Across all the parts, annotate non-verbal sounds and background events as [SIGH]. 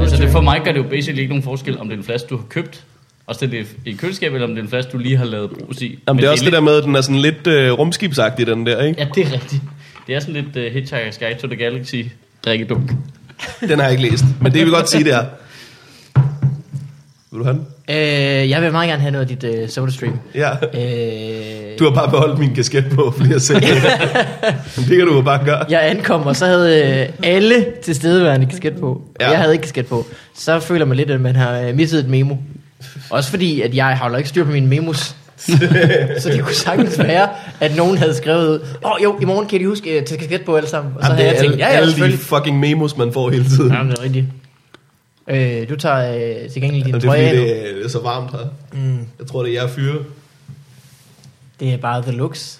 Altså, mig gør det jo basically ikke nogen forskel, om det er en flaske, du har købt, og stillet i- i køleskabet, eller om det er en flaske, du lige har lavet brus i. Men Jamen, det er også det lidt- der med, at den er sådan lidt øh, rumskibsagtig, den der, ikke? Ja, det er rigtigt. Det er sådan lidt uh, Hitchhiker's Guide to the Galaxy drikkedunk. Den har jeg ikke læst, men det kan vi godt sige, det er. Vil du have den? Øh, jeg vil meget gerne have noget af dit øh, SodaStream. Ja. Øh, Du har bare beholdt min kasket på flere [LAUGHS] sekunder. Men det kan du jo bare gøre. Jeg ankom, og så havde øh, alle tilstedeværende kasket på. Ja. Ja. Jeg havde ikke kasket på. Så føler man lidt, at man har øh, misset et memo. Også fordi, at jeg har jo ikke styr på mine [LAUGHS] memos. så det kunne sagtens være, at nogen havde skrevet, åh oh, jo, i morgen kan de huske øh, til kasket på alle sammen. Og så Jamen, havde det er jeg tænkt, alle, ja, ja, alle de selvfølgelig. fucking memos, man får hele tiden. Jamen, det er rigtigt. Øh, du tager øh, til gengæld din Jamen, det er trøje af fordi, nu. det er, det er så varmt her. Mm, Jeg tror, det er jer fyre. det er bare the [LAUGHS] looks.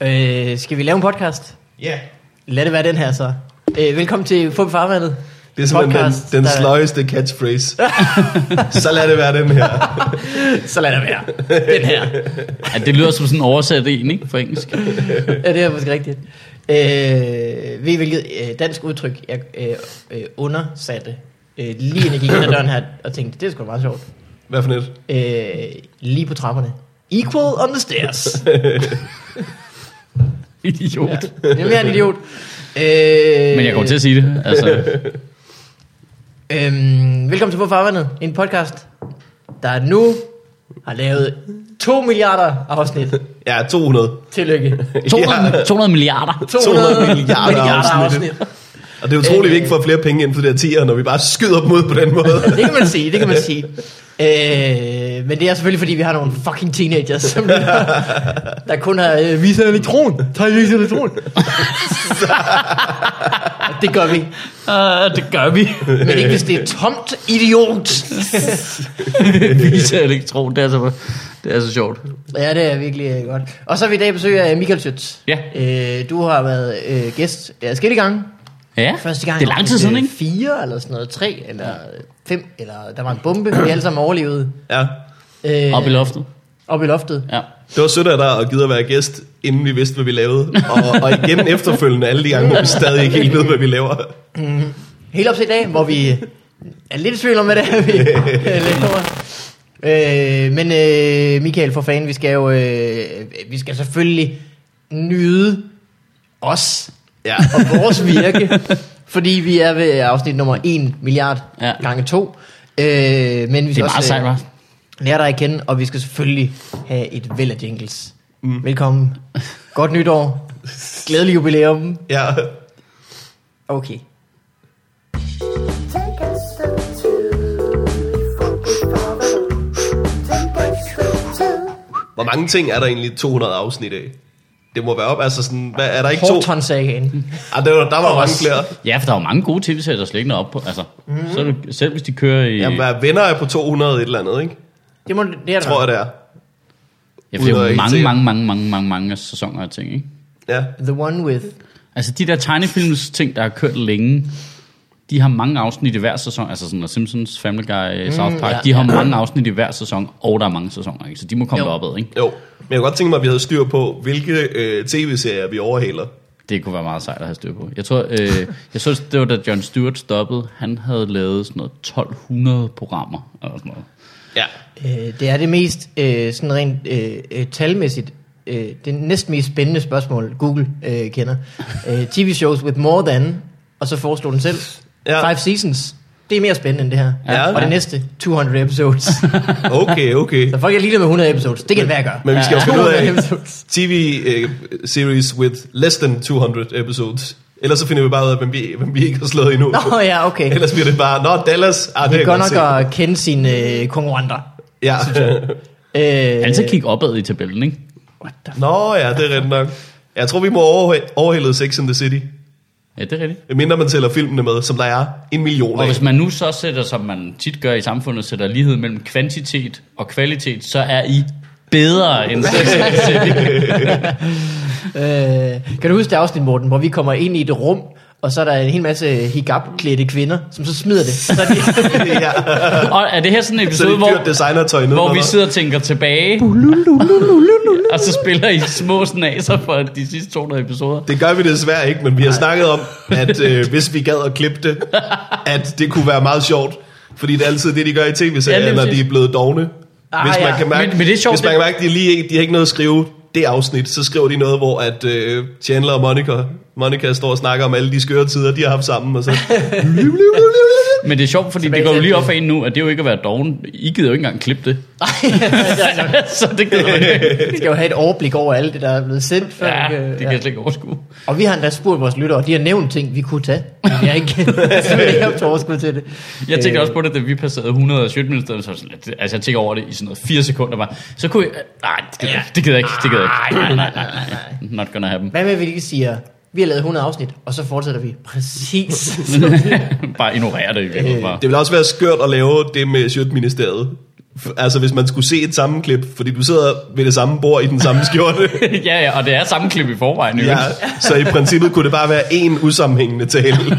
øh, skal vi lave en podcast? Ja. Lad det være den her så. Øh, velkommen til Fum Farvandet. Det er simpelthen Podcast, den, den der- sløjeste catchphrase. så lad det være den her. [LAUGHS] Så lad det være. Den her. Ja, det lyder som sådan en oversat en, ikke? For engelsk. [LAUGHS] Ja, det er måske rigtigt. Øh, ved I, hvilket øh, dansk udtryk jeg øh, øh, undersatte, øh, lige inden jeg gik ind ad døren her og tænkte, det er sgu da meget sjovt. Hvad for net? Øh, lige på trapperne. Equal on the stairs. Idiot. Ja, det er mere en [LAUGHS] idiot. Øh, Men jeg kommer til at sige det. Altså, Øh, velkommen til På Farvandet, en podcast, der nu har lavet 2 milliarder afsnit. Ja, 200. [LAUGHS] Tillykke. 200, Ja. 200 milliarder. 200 milliarder afsnit. Og det er utroligt, øh, vi ikke får flere penge ind for det her 10'er, når vi bare skyder dem ud på den måde. det kan man sige, det kan man [LAUGHS] sige. Øh, men det er selvfølgelig, fordi vi har nogle fucking teenagers, [LAUGHS] som lige har, der kun har øh, vist elektron. Tag vist [LAUGHS] elektron. det gør vi. Uh, det gør [LAUGHS] vi. Men ikke hvis det er tomt, idiot. Visa elektron, det er så, det er så sjovt. ja, det er virkelig øh, godt. Og så er vi i dag besøg af Michael Schütz. Ja. Øh, du har været øh, gæst øh, skille gange. Ja, Første gang. det er lang tid afsnit, siden, øh, ikke? Fire eller sådan noget. Tre eller fem. Eller der var en bombe. Vi alle sammen overlevede. Ja. Øh, Op i loftet. Op i loftet. Ja. Det var sødt af dig at gide at være gæst, inden vi vidste, hvad vi lavede. Og, og igen efterfølgende alle de gange, hvor vi stadig ikke helt ved, hvad vi laver. Helt op til i dag, hvor vi er lidt i tvivl om, hvad det er, vi [LAUGHS] laver. Øh, men øh, Michael, for fanden, vi skal jo øh, vi skal selvfølgelig nyde os Ja. og vores virke, fordi vi er ved afsnit nummer 1 milliard Ja. ja. gange 2. Øh, men vi Det skal er meget også sejt, øh, hva'? lære dig at kende, og vi skal selvfølgelig have et væld af jingles. Mm. Velkommen. Godt nytår. Glædelig jubilæum. Ja. Okay. Take a step to focus for Take a step to Hvor mange ting er der egentlig 200 afsnit af? Det må være op, altså sådan, hvad, er der ikke to? Horton sagde Mm. igen. Ah, der, var- der var mange flere. Ja, for der er jo mange gode tv-serier, der slet ikke når op på. Altså, Mhm. mm. så er det, selv hvis de kører i... Jamen, Jamen, hvad, venner er på 200 et eller andet, ikke? Det, må, det er der. Tror jeg, det er. ja, for det er udover jo mange, IT. mange, mange, mange, mange, mange sæsoner og ting, ikke? Ja. The one with... Altså, de der tegnefilms ting, der har kørt længe, de har mange afsnit i hver sæson. Altså sådan noget Simpsons, Family Guy, mm, South Park. ja, Ja, de har ja. mange afsnit i hver sæson, og der er mange sæsoner, ikke? Så de må komme Jo. deropad, ikke? Jo. Men jeg kunne godt tænke mig, at vi havde styr på, hvilke øh, tv-serier vi overhaler. Det kunne være meget sejt at have styr på. Jeg tror, øh, jeg synes, det var da John Stewart stoppede. Han havde lavet sådan noget 1200 programmer, eller sådan noget. Ja. Øh, det er det mest, øh, sådan rent øh, øh, talmæssigt, øh, det næst mest spændende spørgsmål, Google øh, kender. Øh, TV shows with more than, og så foreslog den selv. Ja. Ja. Five seasons. Det er mere spændende end det her. Ja. Og det næste, 200 episodes. Okay, okay. så folk er ligeglade med 100 episodes. Det kan være gøre. Men vi skal jo finde ud af- 200 [LAUGHS] episodes. TV-series with less than 200 episodes. Ellers så finder vi bare ud af, hvem vi, hvem vi ikke har slået endnu. Nå ja, okay. Ellers bliver det bare, nå, Dallas, ah, det, Det er kan godt jeg nok godt at kende sine øh, konkurrenter. se. Ja. Øh, Altid kigge opad i tabellen, ikke? [LAUGHS] nå ja, det er rigtigt nok. Jeg tror, vi må overha- overhælde Sex in the City. Ja, det er rigtigt. Mindre man tæller filmene med, som der er en million Og af. hvis man nu så sætter, som man tit gør i samfundet, sætter lighed mellem kvantitet og kvalitet, så er I bedre [LAUGHS] end Sex and the City. Øh, kan du huske det afsnit, Morten, hvor vi kommer ind i et rum, og så er der en hel masse hijab-klædte kvinder, som så smider det. [LAUGHS] Så [LAUGHS] er de, [LAUGHS] ja. Og er det her sådan en Så episode, det er hvor, dyrt designertøj nu. hvor vi sidder og tænker tilbage, og så spiller I små snaser for de sidste 200 episoder? Det gør vi desværre ikke, men vi har snakket om, at øh, hvis vi gad at klippe det, at det kunne være meget sjovt. Fordi det er altid det, de gør i Ja, tv-serier, lige ja, når de præcis. er blevet dogne. Ah, hvis man ja. kan mærke, Men- men det er sjovt, hvis man det- kan mærke, at de, lige, ikke- de har ikke noget at skrive det afsnit, så skriver de noget, hvor at øh, Chandler og Monica, Monica står og snakker om alle de skøre tider, de har haft sammen. Og så, Men det er sjovt, fordi det går jo lige op for en nu, at det er jo ikke at være doven. I gider jo ikke engang klippe det. [LAUGHS] så det gider man ikke. [LAUGHS] de skal jo have et overblik over alt det, der er blevet sendt. Før, Ja, øh, det kan jeg slet ikke overskue. Og vi har endda spurgt vores lyttere, og de har nævnt ting, vi kunne [LAUGHS] tage. Men Jeg har ikke, så jeg ikke haft overskud til det. Jeg tænkte Øh, også på det, da vi passerede 100 og 17 minutter, så var sådan lidt- altså jeg tænkte over det i sådan noget 4 sekunder bare. Så kunne jeg, nej, det gider jeg ikke, det gider jeg ikke, det gider jeg ikke. Nej, nej, nej, nej, nej. Not gonna happen. Hvad med, at vi lige siger, vi har lavet 100 afsnit, og så fortsætter vi præcis. [LAUGHS] bare ignorere det i virkeligheden bare. det ville også være skørt at lave det med Sjøtministeriet. Altså hvis man skulle se et sammenklip, fordi du sidder ved det samme bord i den samme skjorte. [LAUGHS] ja, ja, og det er samme klip i forvejen. Ja. Ja, så i princippet kunne det bare være en usammenhængende tale.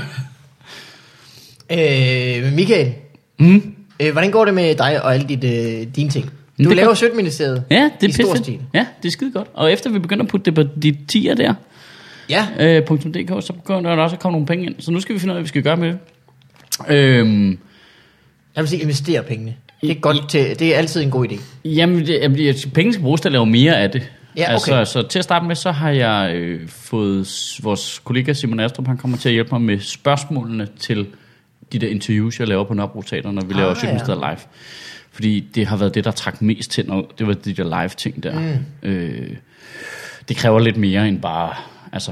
øh, men Michael, Mm. øh, hvordan går det med dig og alle dit, øh, dine ting? Du Men det laver går- Sødministeriet Ja, det i stor er pisse. stil. Ja, det er skide godt. Og efter vi begynder at putte det på de 10'er der, Ja, øh, .dk, så begynder der også at komme nogle penge ind. Så nu skal vi finde ud af, hvad vi skal gøre med det. Øhm, jeg vil sige, investere pengene. Det er, godt til, det er altid en god idé. Jamen, det, jamen det, penge skal bruges til at lave mere af det. Ja, okay. altså, så til at starte med, så har jeg øh, fået s- vores kollega Simon Astrup, han kommer til at hjælpe mig med spørgsmålene til de der interviews, jeg laver på Nørrebro Teater, når vi Ah, ah, laver ja. Sjøtministeriet live. Fordi det har været det, der trak mest til, når det var de der live ting der. Mm. Øh, det kræver lidt mere end bare, altså,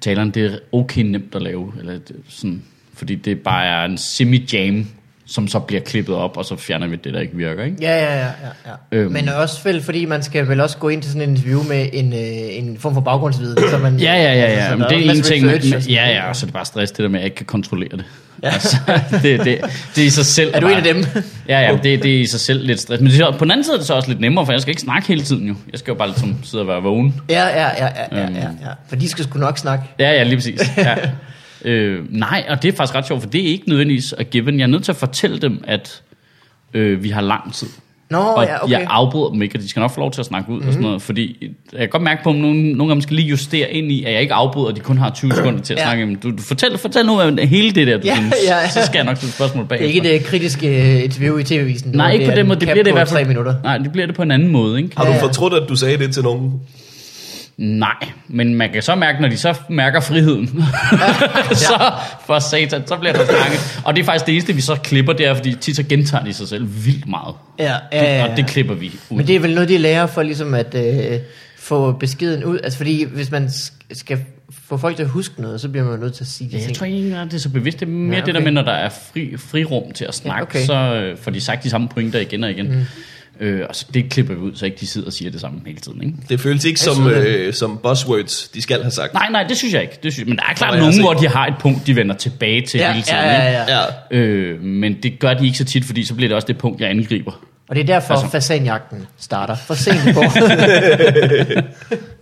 taleren, det er okay nemt at lave, eller det- sådan, fordi det bare er en semi-jam, som så bliver klippet op, og så fjerner vi det, der ikke virker, ikke? Ja, ja, ja. ja, ja. Øhm. Øhm. Men også vel, fordi man skal vel også gå ind til sådan en interview med en, øh, en form for baggrundsviden, så man... Ja, ja, ja, altså, ja. så Altså, der men det en er en masse ting. Men, research og men, sådan ja, noget. ja, og så er det bare stress, det der med, at jeg ikke kan kontrollere det. [LAUGHS] Ja. Altså, det, det, det er i sig selv. Er du bare- en af dem? Ja, ja, det, det er i sig selv lidt stress. Men det, er så- på den anden side er det så også lidt nemmere, for jeg skal ikke snakke hele tiden jo. Jeg skal jo bare ligesom sidde og være vågen. Ja, ja, ja, ja, ja, ja, Øhm. ja. For de skal sgu nok snakke. Ja, ja, lige præcis. [LAUGHS] Ja. øh, nej, og det er faktisk ret sjovt, for det er ikke nødvendigvis at given. Jeg er nødt til at fortælle dem, at øh, vi har lang tid. Nå, og ja, okay. Mhm. jeg afbryder dem ikke, og de skal nok få lov til at snakke ud mm-hmm. og sådan noget, fordi jeg kan godt mærke på, at nogle, nogle gange skal lige justere ind i, at jeg ikke afbryder, og de kun har 20 sekunder til at Ja. ja. snakke. Men Du, du fortæl, fortæl nu om hele det der, du Ja, ja, synes, ja, ja. så skal jeg nok stille spørgsmål bag. Det er ikke et øh, kritisk øh, interview i tv-avisen. Nej, hvor ikke er på den en måde. Det cap bliver det i på hvert fald. tre minutter. Nej, det bliver det på en anden måde, ikke? Har Ja, ja. du fortrudt, at du sagde det til nogen? Nej, men man kan så mærke, når de så mærker [LAUGHS] friheden, så for satan, så bliver der snakket. Og det er faktisk det eneste, vi så klipper, det er, fordi tit så gentager de sig selv vildt meget. Ja, ja, ja, ja. Og det klipper vi ud. Men det er vel noget, de lærer for ligesom at øh, få beskeden ud. Altså fordi, hvis man sk- skal få folk til at huske noget, så bliver man jo nødt til at sige de Ja, jeg ting. tror ikke, engang, det er så bevidst. Det er mere Ja, ja, okay. okay. det der med, når der er fri, frirum til at snakke, Ja, okay. okay. så øh, får de sagt de samme pointer igen og igen. Mm. Øh, og så det klipper vi ud, så ikke de sidder og siger det samme hele tiden. Ikke? Det føles ikke Jeg som, synes det. øh, som buzzwords, de skal have sagt. Nej, nej, det synes jeg ikke. Det synes jeg. Men der er klart jeg har nogen, set hvor de har et punkt, de vender tilbage til Ja, hele tiden. ja, ja, ikke? ja. Ja. Øh, men det gør de ikke så tit, fordi så bliver det også det punkt, jeg angriber. Og det er derfor, altså. Altså- fasanjagten starter for sent på. [LAUGHS]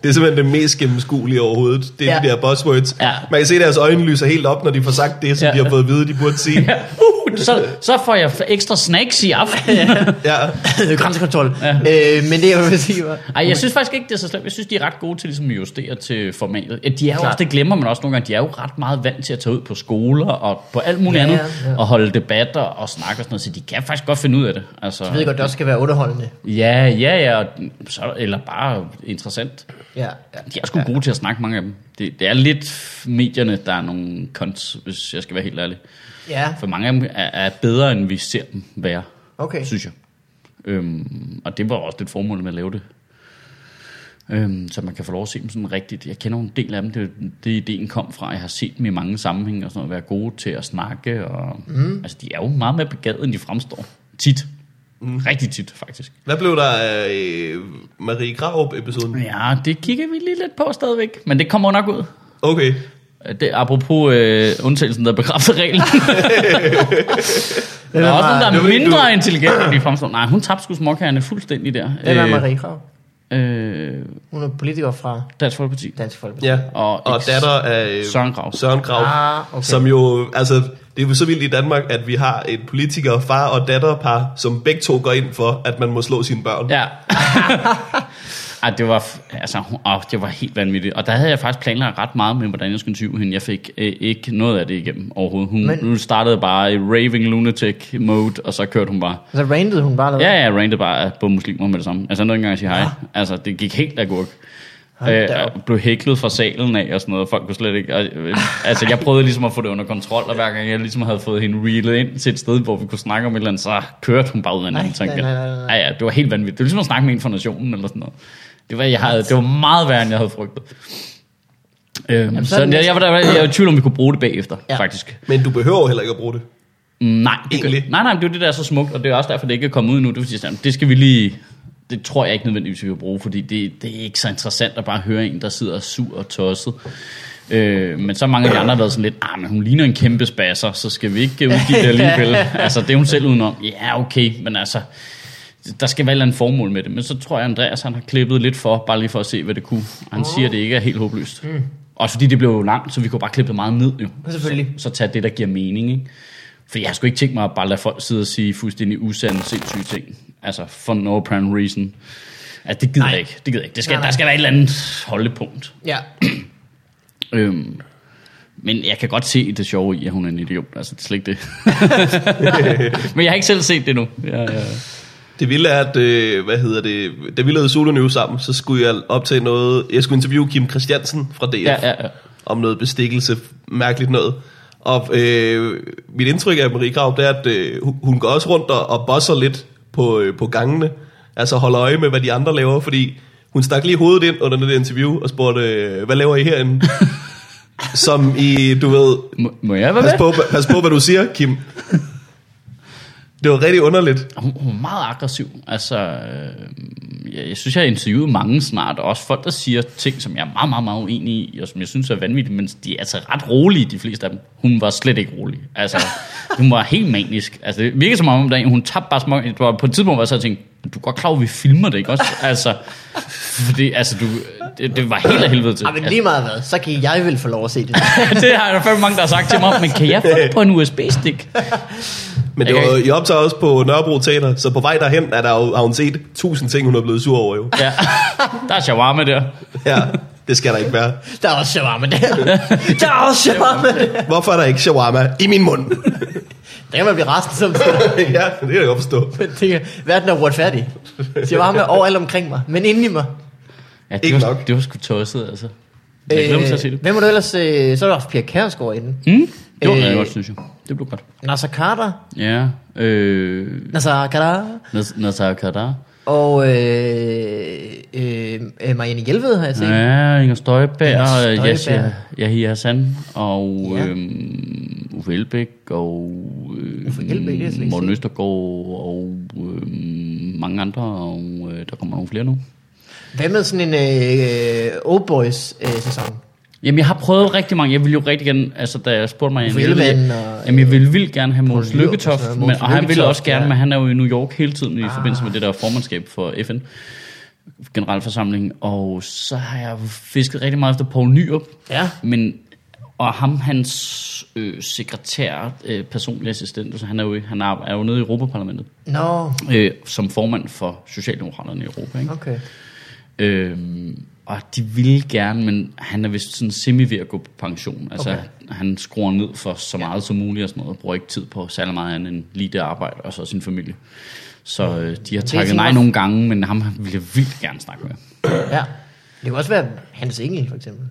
Det er simpelthen det mest gennemskuelige overhovedet. Det er Ja. ja. de der buzzwords. Ja. Man kan se, at deres øjne lyser helt op, når de får sagt det, som ja. Ja. de har fået at vide, de burde [LAUGHS] sige. Ja, uh, [LAUGHS] så, så får jeg ekstra snacks i aften. Ja. Grænsekontrol. Ja. Øh, men det er jo, hvad jeg siger. Ej, jeg synes faktisk ikke, det er så slemt. Jeg synes, de er ret gode til ligesom, at justere til formatet. Ja, De er jo Klart. også, det glemmer man også nogle gange, de er jo ret meget vant til at tage ud på skoler og på alt muligt Ja, andet, ja, ja. og holde debatter og snakke og sådan noget, så de kan faktisk godt finde ud af det. Altså, Jeg ved godt, det også skal være underholdende. Ja, ja, ja, og så, eller bare interessant. Ja, ja. De er sgu gode til at snakke, mange af dem. Det, det er lidt medierne, der er nogle cons, hvis jeg skal være helt ærlig. ja. For mange af dem er, er bedre, end vi ser dem være, okay. synes jeg. Øhm, og det var også lidt formålet med at lave det. Øhm, så man kan få lov at se dem sådan rigtigt. Jeg kender en del af dem, det, det ideen kom fra. Jeg har set dem i mange sammenhænge og sådan noget, være gode til at snakke. Og, mm. Altså, de er jo meget mere begavet, end de fremstår. Tit. Mm. Rigtig tit, faktisk. Hvad blev der af øh, Marie Graup-episoden? Ja, det kigger vi lige lidt på stadigvæk. Men det kommer nok ud. Okay. Det, apropos øh, undtagelsen, der bekræfter reglen. Hvem Der er er, også nogen, Mar- der det er var fordi, mindre intelligent, end de fremstår. Nej, hun tabte sgu småkagerne fuldstændig der. hvem er Øh, Marie Krav? øh, Hun er politiker fra Dansk Folkeparti. Dansk Folkeparti. Ja, Og og, og eks- datter af øh, Søren Grau. Søren Grau Ah, okay. som jo, altså, det er jo så vildt i Danmark, at vi har en politiker, far og datterpar, som begge to går ind for, at man må slå sine børn. Ja. Ej, det var, f- altså, hun- åh, det var helt vanvittigt. Og der havde jeg faktisk planlagt ret meget med, hvordan jeg skulle interviewe hende. Jeg fik øh, ikke noget af det igennem overhovedet. Hun, Men- Men... hun startede bare i raving lunatic mode, og så kørte hun bare. Og så randede Altså, hun bare noget. Ja, ja, rantede bare på muslimer med det samme. Altså, jeg nåede ikke engang at sige hej. Altså, det gik helt af gurk. Øh, da op. og blev hæklet fra salen af og sådan noget. Folk kunne slet ikke... Og, øh, altså, jeg prøvede ligesom at få det under kontrol, og hver gang jeg ligesom havde fået hende reelet ind til et sted, hvor vi kunne snakke om et eller andet, så kørte hun bare ud af en Nej, anden tanke. nej, nej, nej, nej. Ja, ja, det var helt vanvittigt. Det var ligesom at snakke med en fra nationen eller sådan noget. Det var, jeg havde, det var meget værre, end jeg havde frygtet. Øhm, så så er den jeg, næste- jeg, var, der, jeg var i tvivl om, vi kunne bruge det bagefter, Ja. ja. faktisk. Men du behøver jo heller ikke at bruge det. Mm, Nej, det gør, Egentlig. nej, nej, men det er jo det, der er så smukt, og det er også derfor, det ikke er kommet ud nu. Det, er fordi, sådan, det skal vi lige... Det tror jeg ikke nødvendigvis, vi vil bruge, fordi det, det er ikke så interessant at bare høre en, der sidder sur og tosset. Øh, men så mange af de andre har været sådan lidt, ah, men hun ligner en kæmpe spasser, så skal vi ikke udgive det alligevel. altså, det er hun selv udenom. Ja, okay, men altså, der skal være et eller andet formål med det. Men så tror jeg, Andreas han har klippet lidt for, bare lige for at se, hvad det kunne. Og Han siger, at det ikke er helt håbløst. Mm. Også fordi det blev jo langt, så vi kunne bare klippe det meget ned jo Selvfølgelig. så tage det, der giver mening. Ikke? For jeg skulle ikke tænke mig at bare lade folk sidde og sige fuldstændig usande, sindssyge ting. Altså, for no apparent reason. Altså, det gider Nej. nej. jeg ikke. Det gider jeg ikke. Det skal, nej, Nej, nej. nej. Der skal være et eller andet holdepunkt. ja. Øhm, men jeg kan godt se det sjove i, at hun er en idiot. Altså, det er slet ikke [LAUGHS] det. men jeg har ikke selv set det nu. Ja, ja. Det vilde er, at, øh, hvad hedder det, da vi lavede Solo News sammen, så skulle jeg optage noget, jeg skulle interviewe Kim Christiansen fra DF. Ja, ja, ja. om noget bestikkelse, mærkeligt noget. Og øh, mit indtryk af Marie Grav, det er, at øh, hun- hun går også rundt og, og bosser lidt på, øh, på gangene. Altså holder øje med, hvad de andre laver, fordi hun stak lige hovedet ind under det der interview og spurgte, øh, hvad laver [LAUGHS] I herinde? Som i, du ved, Må, må jeg være pas med? på, pas på, hvad du siger, Kim. Det var rigtig underligt. Hun, hun er meget aggressiv. Altså, øh, jeg, jeg synes, jeg har interviewet mange snart, og også folk, der siger ting, som jeg er meget, meget, meget uenig i, og som jeg synes er vanvittigt, men de er altså ret rolige, de fleste af dem. Hun var slet ikke rolig. Altså, hun var helt manisk. Altså, det virker som om, at hun tabte bare små... Det var på et tidspunkt, hvor jeg så tænkte, "Men du er godt klar over, at vi filmer det, ikke også? Altså, fordi, altså du, det, det var helt af helvede til. Ej, Ah, men lige meget hvad, så kan jeg vel få lov at [LAUGHS] se det. Altså, det har der fandme mange, der har sagt til mig, men kan jeg få det på en USB-stik? Men det Jeg var, kan jeg optager også på Nørrebro Teater, så på vej derhen er der, jo- har hun set tusind ting, hun er blevet sur over jo. Ja, der er shawarma der. Ja, det skal der ikke være. Der er også shawarma [LAUGHS] der. Der er også shawarma der. Hvorfor er der ikke shawarma i min mund? [LAUGHS] Der kan man blive resten som [LAUGHS] sådan. ja, det kan jeg godt forstå. Jeg tænker, verden er uretfærdig. Shawarma overalt omkring mig, men inden i mig. Ja, det Ikke var, nok. det var sgu tosset, altså. Jeg glemte at se det. hvem var du ellers? Øh, så har du haft Pia Kærsgaard inden. Mm, det var Øh, øh, godt, synes jeg. Det blev godt. Nasser Carter. Ja, øh, Nasser Carter. Nas- Nazar Kadar. Og øh, øh, øh, Marianne Hjelved har jeg set. Ja, Inger Støjberg, Inger Støjberg. Støjberg. Yasha, Yahya Hassan, og Ja. ja. øhm, Uffe Elbæk, og øhm, Uffe Elbæk, det har jeg slet ikke Morten set. Østergaard, og øhm, mange andre, og øh, der kommer nogle flere nu. Hvad med sådan en øh, øh, Old Boys øh, sæson? Jamen, jeg har prøvet rigtig mange. Jeg ville jo rigtig gerne, altså da jeg spurgte mig, Ellemann jeg, og, øh, jamen, jeg ville vildt gerne have Måns Poul Nyrup og Lykketoft, sådan noget. men, Mogens og han ville Lykketoft, også gerne, ja. Ah. men han er jo i New York hele tiden i forbindelse med det der formandskab for FN, generalforsamling, og så har jeg fisket rigtig meget efter Poul Nyrup, Ja. men og ham, hans øh, sekretær, øh, personlig assistent, altså, han er jo, i- han er, er jo nede i Europaparlamentet, Nå, øh, som formand for Socialdemokraterne i Europa. Ikke? okay. Øhm, og de ville gerne, men han er vist sådan semi ved at gå på pension. Altså, Okay. okay. han skruer ned for så meget som muligt og sådan noget, og bruger ikke tid på særlig meget andet end lige det arbejde og så sin familie. Så øh, de har sådan takket nej noget- nogle gange, men ham ville jeg vildt gerne snakke med. Ja. Det kunne også være Hans Engel, for eksempel.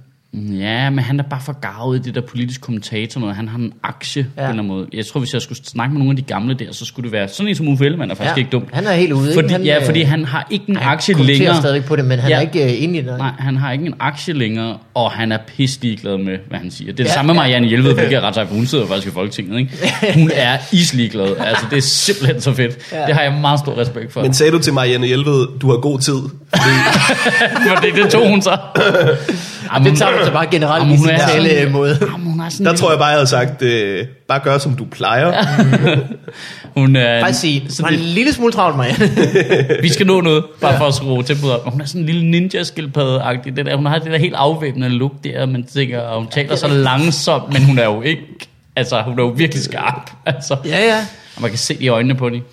Ja, men han er bare for garvet i det der politisk kommentator noget. Han har en aktie ja. på en Ja. eller anden måde. Jeg tror, hvis jeg skulle snakke med nogle af de gamle der, så skulle det være sådan en som Uffe Ellemann er faktisk Ja, ikke dum. han er helt ude, ikke? Fordi, Han, han, ja, øh, fordi han har ikke en Han aktie kommenterer længere. stadig på det, men han ja. er ikke øh, enig i det. Nej, han har ikke en aktie længere, og han er pisselig glad med, hvad han siger. Det er det Ja, ja, samme med ja. Marianne Hjelved, hvilket er ret sejt, for hun sidder jo faktisk i Folketinget. Ikke? Hun er islig glad. Altså, det er simpelthen så fedt. Ja. Ja. Det har jeg meget stor respekt for. [LAUGHS] Men Men... sagde du til Marianne Hjelved, du har god tid? Fordi det tog hun så. Jamen, Det tager man så bare generelt i Jamen, sin hun er sådan- tale øh, måde. Jamen, hun er sådan Der lidt- tror jeg bare, jeg havde sagt, øh, bare gør som du plejer. Hun er, Bare sige, så sådan en lille smule [LAUGHS] travlt, Marianne. lidt, vi skal nå noget, bare for at skrue tempoet op. Og Hun er sådan en lille ninja skildpadde det der, Hun har det der helt afvæbnende look der, men tænker, og hun taler så langsomt, men hun er jo ikke... Altså, hun er jo virkelig skarp. Altså. ja, ja. Og man kan se det i øjnene på hende.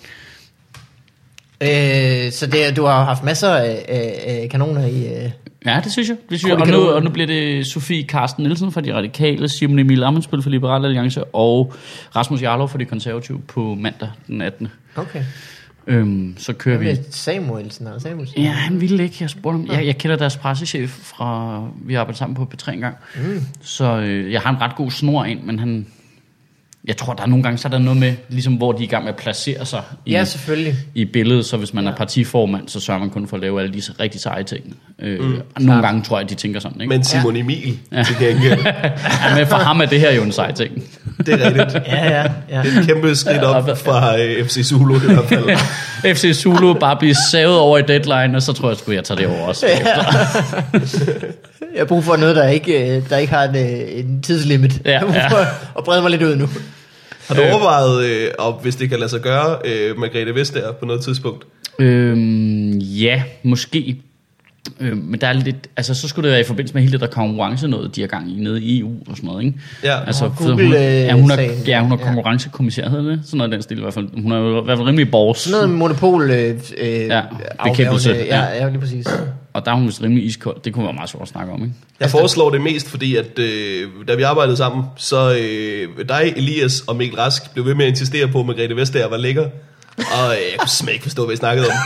Øh, så det, du har jo haft masser af, af, af kanoner i... Øh. Ja, det synes jeg. Det synes Cool, jeg. Og, kan nu, du- og nu bliver det Sofie Karsten Nielsen fra De Radikale, Simon Emil Amensbøl fra Liberale Alliance og Rasmus Jarlov fra De Konservative på mandag den 18. Okay. Øhm, så kører Det vi. er Samuelsen, eller Samuelsen. Ja, han ville ikke. Jeg spurgte ham. Jeg, jeg kender deres pressechef fra... Vi arbejdede sammen på P3 engang. Mm. Så øh, jeg har en ret god snor ind, men han... Jeg tror, der er nogle gange, så er der noget med, ligesom hvor de er i gang med at placere sig i, Ja, selvfølgelig. i billedet, så hvis man er partiformand, så sørger man kun for at lave alle de rigtig seje ting. Øh, mm, nogle gange tror jeg, de tænker sådan, ikke? Men Simon Emil, til gengæld, Ja, men for ham er det her jo en sej ting. det er rigtigt. Ja, ja, ja. Det er et kæmpe skridt op fra øh, FC Zulu i hvert fald. FC Zulu bare blive savet over i deadline, og så tror jeg sgu, jeg tager det over også. Jeg har brug for noget, der ikke, øh, der ikke har en, øh, en tidslimit. Ja, jeg har brug ja. for at- at brede mig lidt ud nu. Har du overvejet, øh, og hvis det kan lade sig gøre, øh, Margrethe Vestager på noget tidspunkt? Øhm, ja, måske. Øhm, men der er lidt, altså, så skulle det være i forbindelse med hele det der konkurrence noget, de har gang i nede i EU og sådan noget, ikke? Ja. altså, Nå, for hun, Google, ja, hun er, øh, sagen. ja, hun er Ja. konkurrencekommissær, hedder det? Sådan noget i den stil i hvert fald. Hun er jo i hvert fald rimelig borgs, Sådan noget monopol øh, Ja, øh, afværgende- bekæmpelse, Ja, ja. ja, lige præcis. og der er hun vist rimelig iskold. Det kunne være meget sjovt at snakke om, ikke? Jeg foreslår det mest, fordi at øh, da vi arbejdede sammen, så øh, dig, Elias og Mikkel Rask blev ved med at insistere på, at Margrethe Vestager var lækker. Og øh, jeg kunne simpelthen ikke forstå, hvad I snakkede [LAUGHS] om.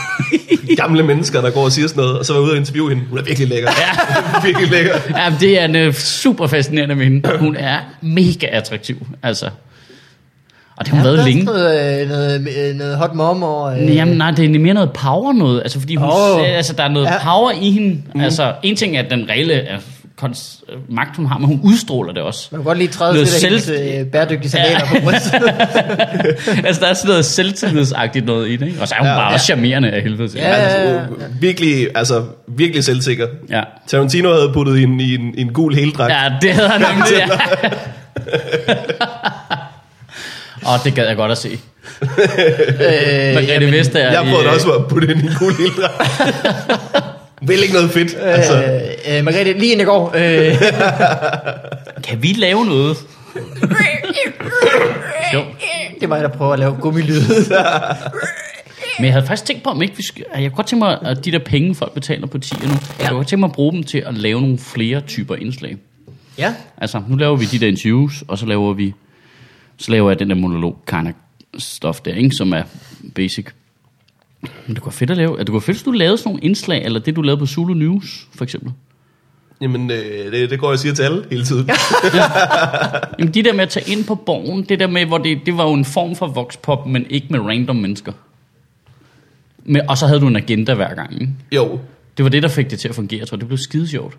Gamle mennesker, der går og siger sådan noget, og så var jeg ude og interviewe hende. Hun er virkelig lækker. Ja. [LAUGHS] virkelig lækker. Ja, men det er en uh, super fascinerende minde. Hun er mega attraktiv, altså. Og det har hun Ja, været der er længe. sådan Noget, øh, noget, øh, noget hot mom og... Øh. Jamen nej, det er mere noget power noget. Altså, fordi hun, Åh. oh. altså, der er noget Ja. ja. power i hende. Mm. Altså, en ting er den reelle øh, kons- øh, magt, hun har, men hun udstråler det [LAUGHS] også. Man kan godt lige træde Noget til det selv- helt øh, bæredygtige salater ja. [LAUGHS] på brystet. altså, der er sådan noget selvtillidsagtigt noget i det. Ikke? Og så er hun Ja. ja. bare også charmerende af helvede til. Ja, ja, Altså, ja. hun er virkelig, altså, virkelig selvsikker. ja. Tarantino havde puttet hende i en, i en gul heldragt. Ja. Ja, det havde han nemlig. Ja. [LAUGHS] Og det gad jeg godt at se. Øh, Margrethe Vestager. Jeg i, prøvede øh, også at putte hende i en gul [LAUGHS] heldragt. Vel ikke noget fedt. Altså, øh, øh, Margrethe, lige inden jeg går. Øh, Kan vi lave noget? jo. det er mig, der prøver at lave gummilyd. Men jeg havde faktisk tænkt på, om ikke vi skal... Jeg kunne godt tænke mig, at de der penge, folk betaler på 10'er nu, jeg kunne godt tænke mig at bruge dem til at lave nogle flere typer indslag. ja. Altså, nu laver vi de der interviews, og så laver vi... Så laver jeg den der monolog kind of stuff der, ikke? Som er basic. Men det kunne være fedt at lave. Det kunne være fedt, hvis du lavede sådan nogle indslag, eller det, du lavede på Zulu News, for eksempel. jamen, øh, det, det går jeg og siger til alle hele tiden. Jamen, de der med at tage ind på borgen, det der med, hvor det, det var jo en form for voxpop, men ikke med random mennesker. Men, og så havde du en agenda hver gang, ikke? Jo, Det var det, der fik det til at fungere, tror jeg. Det blev skide sjovt.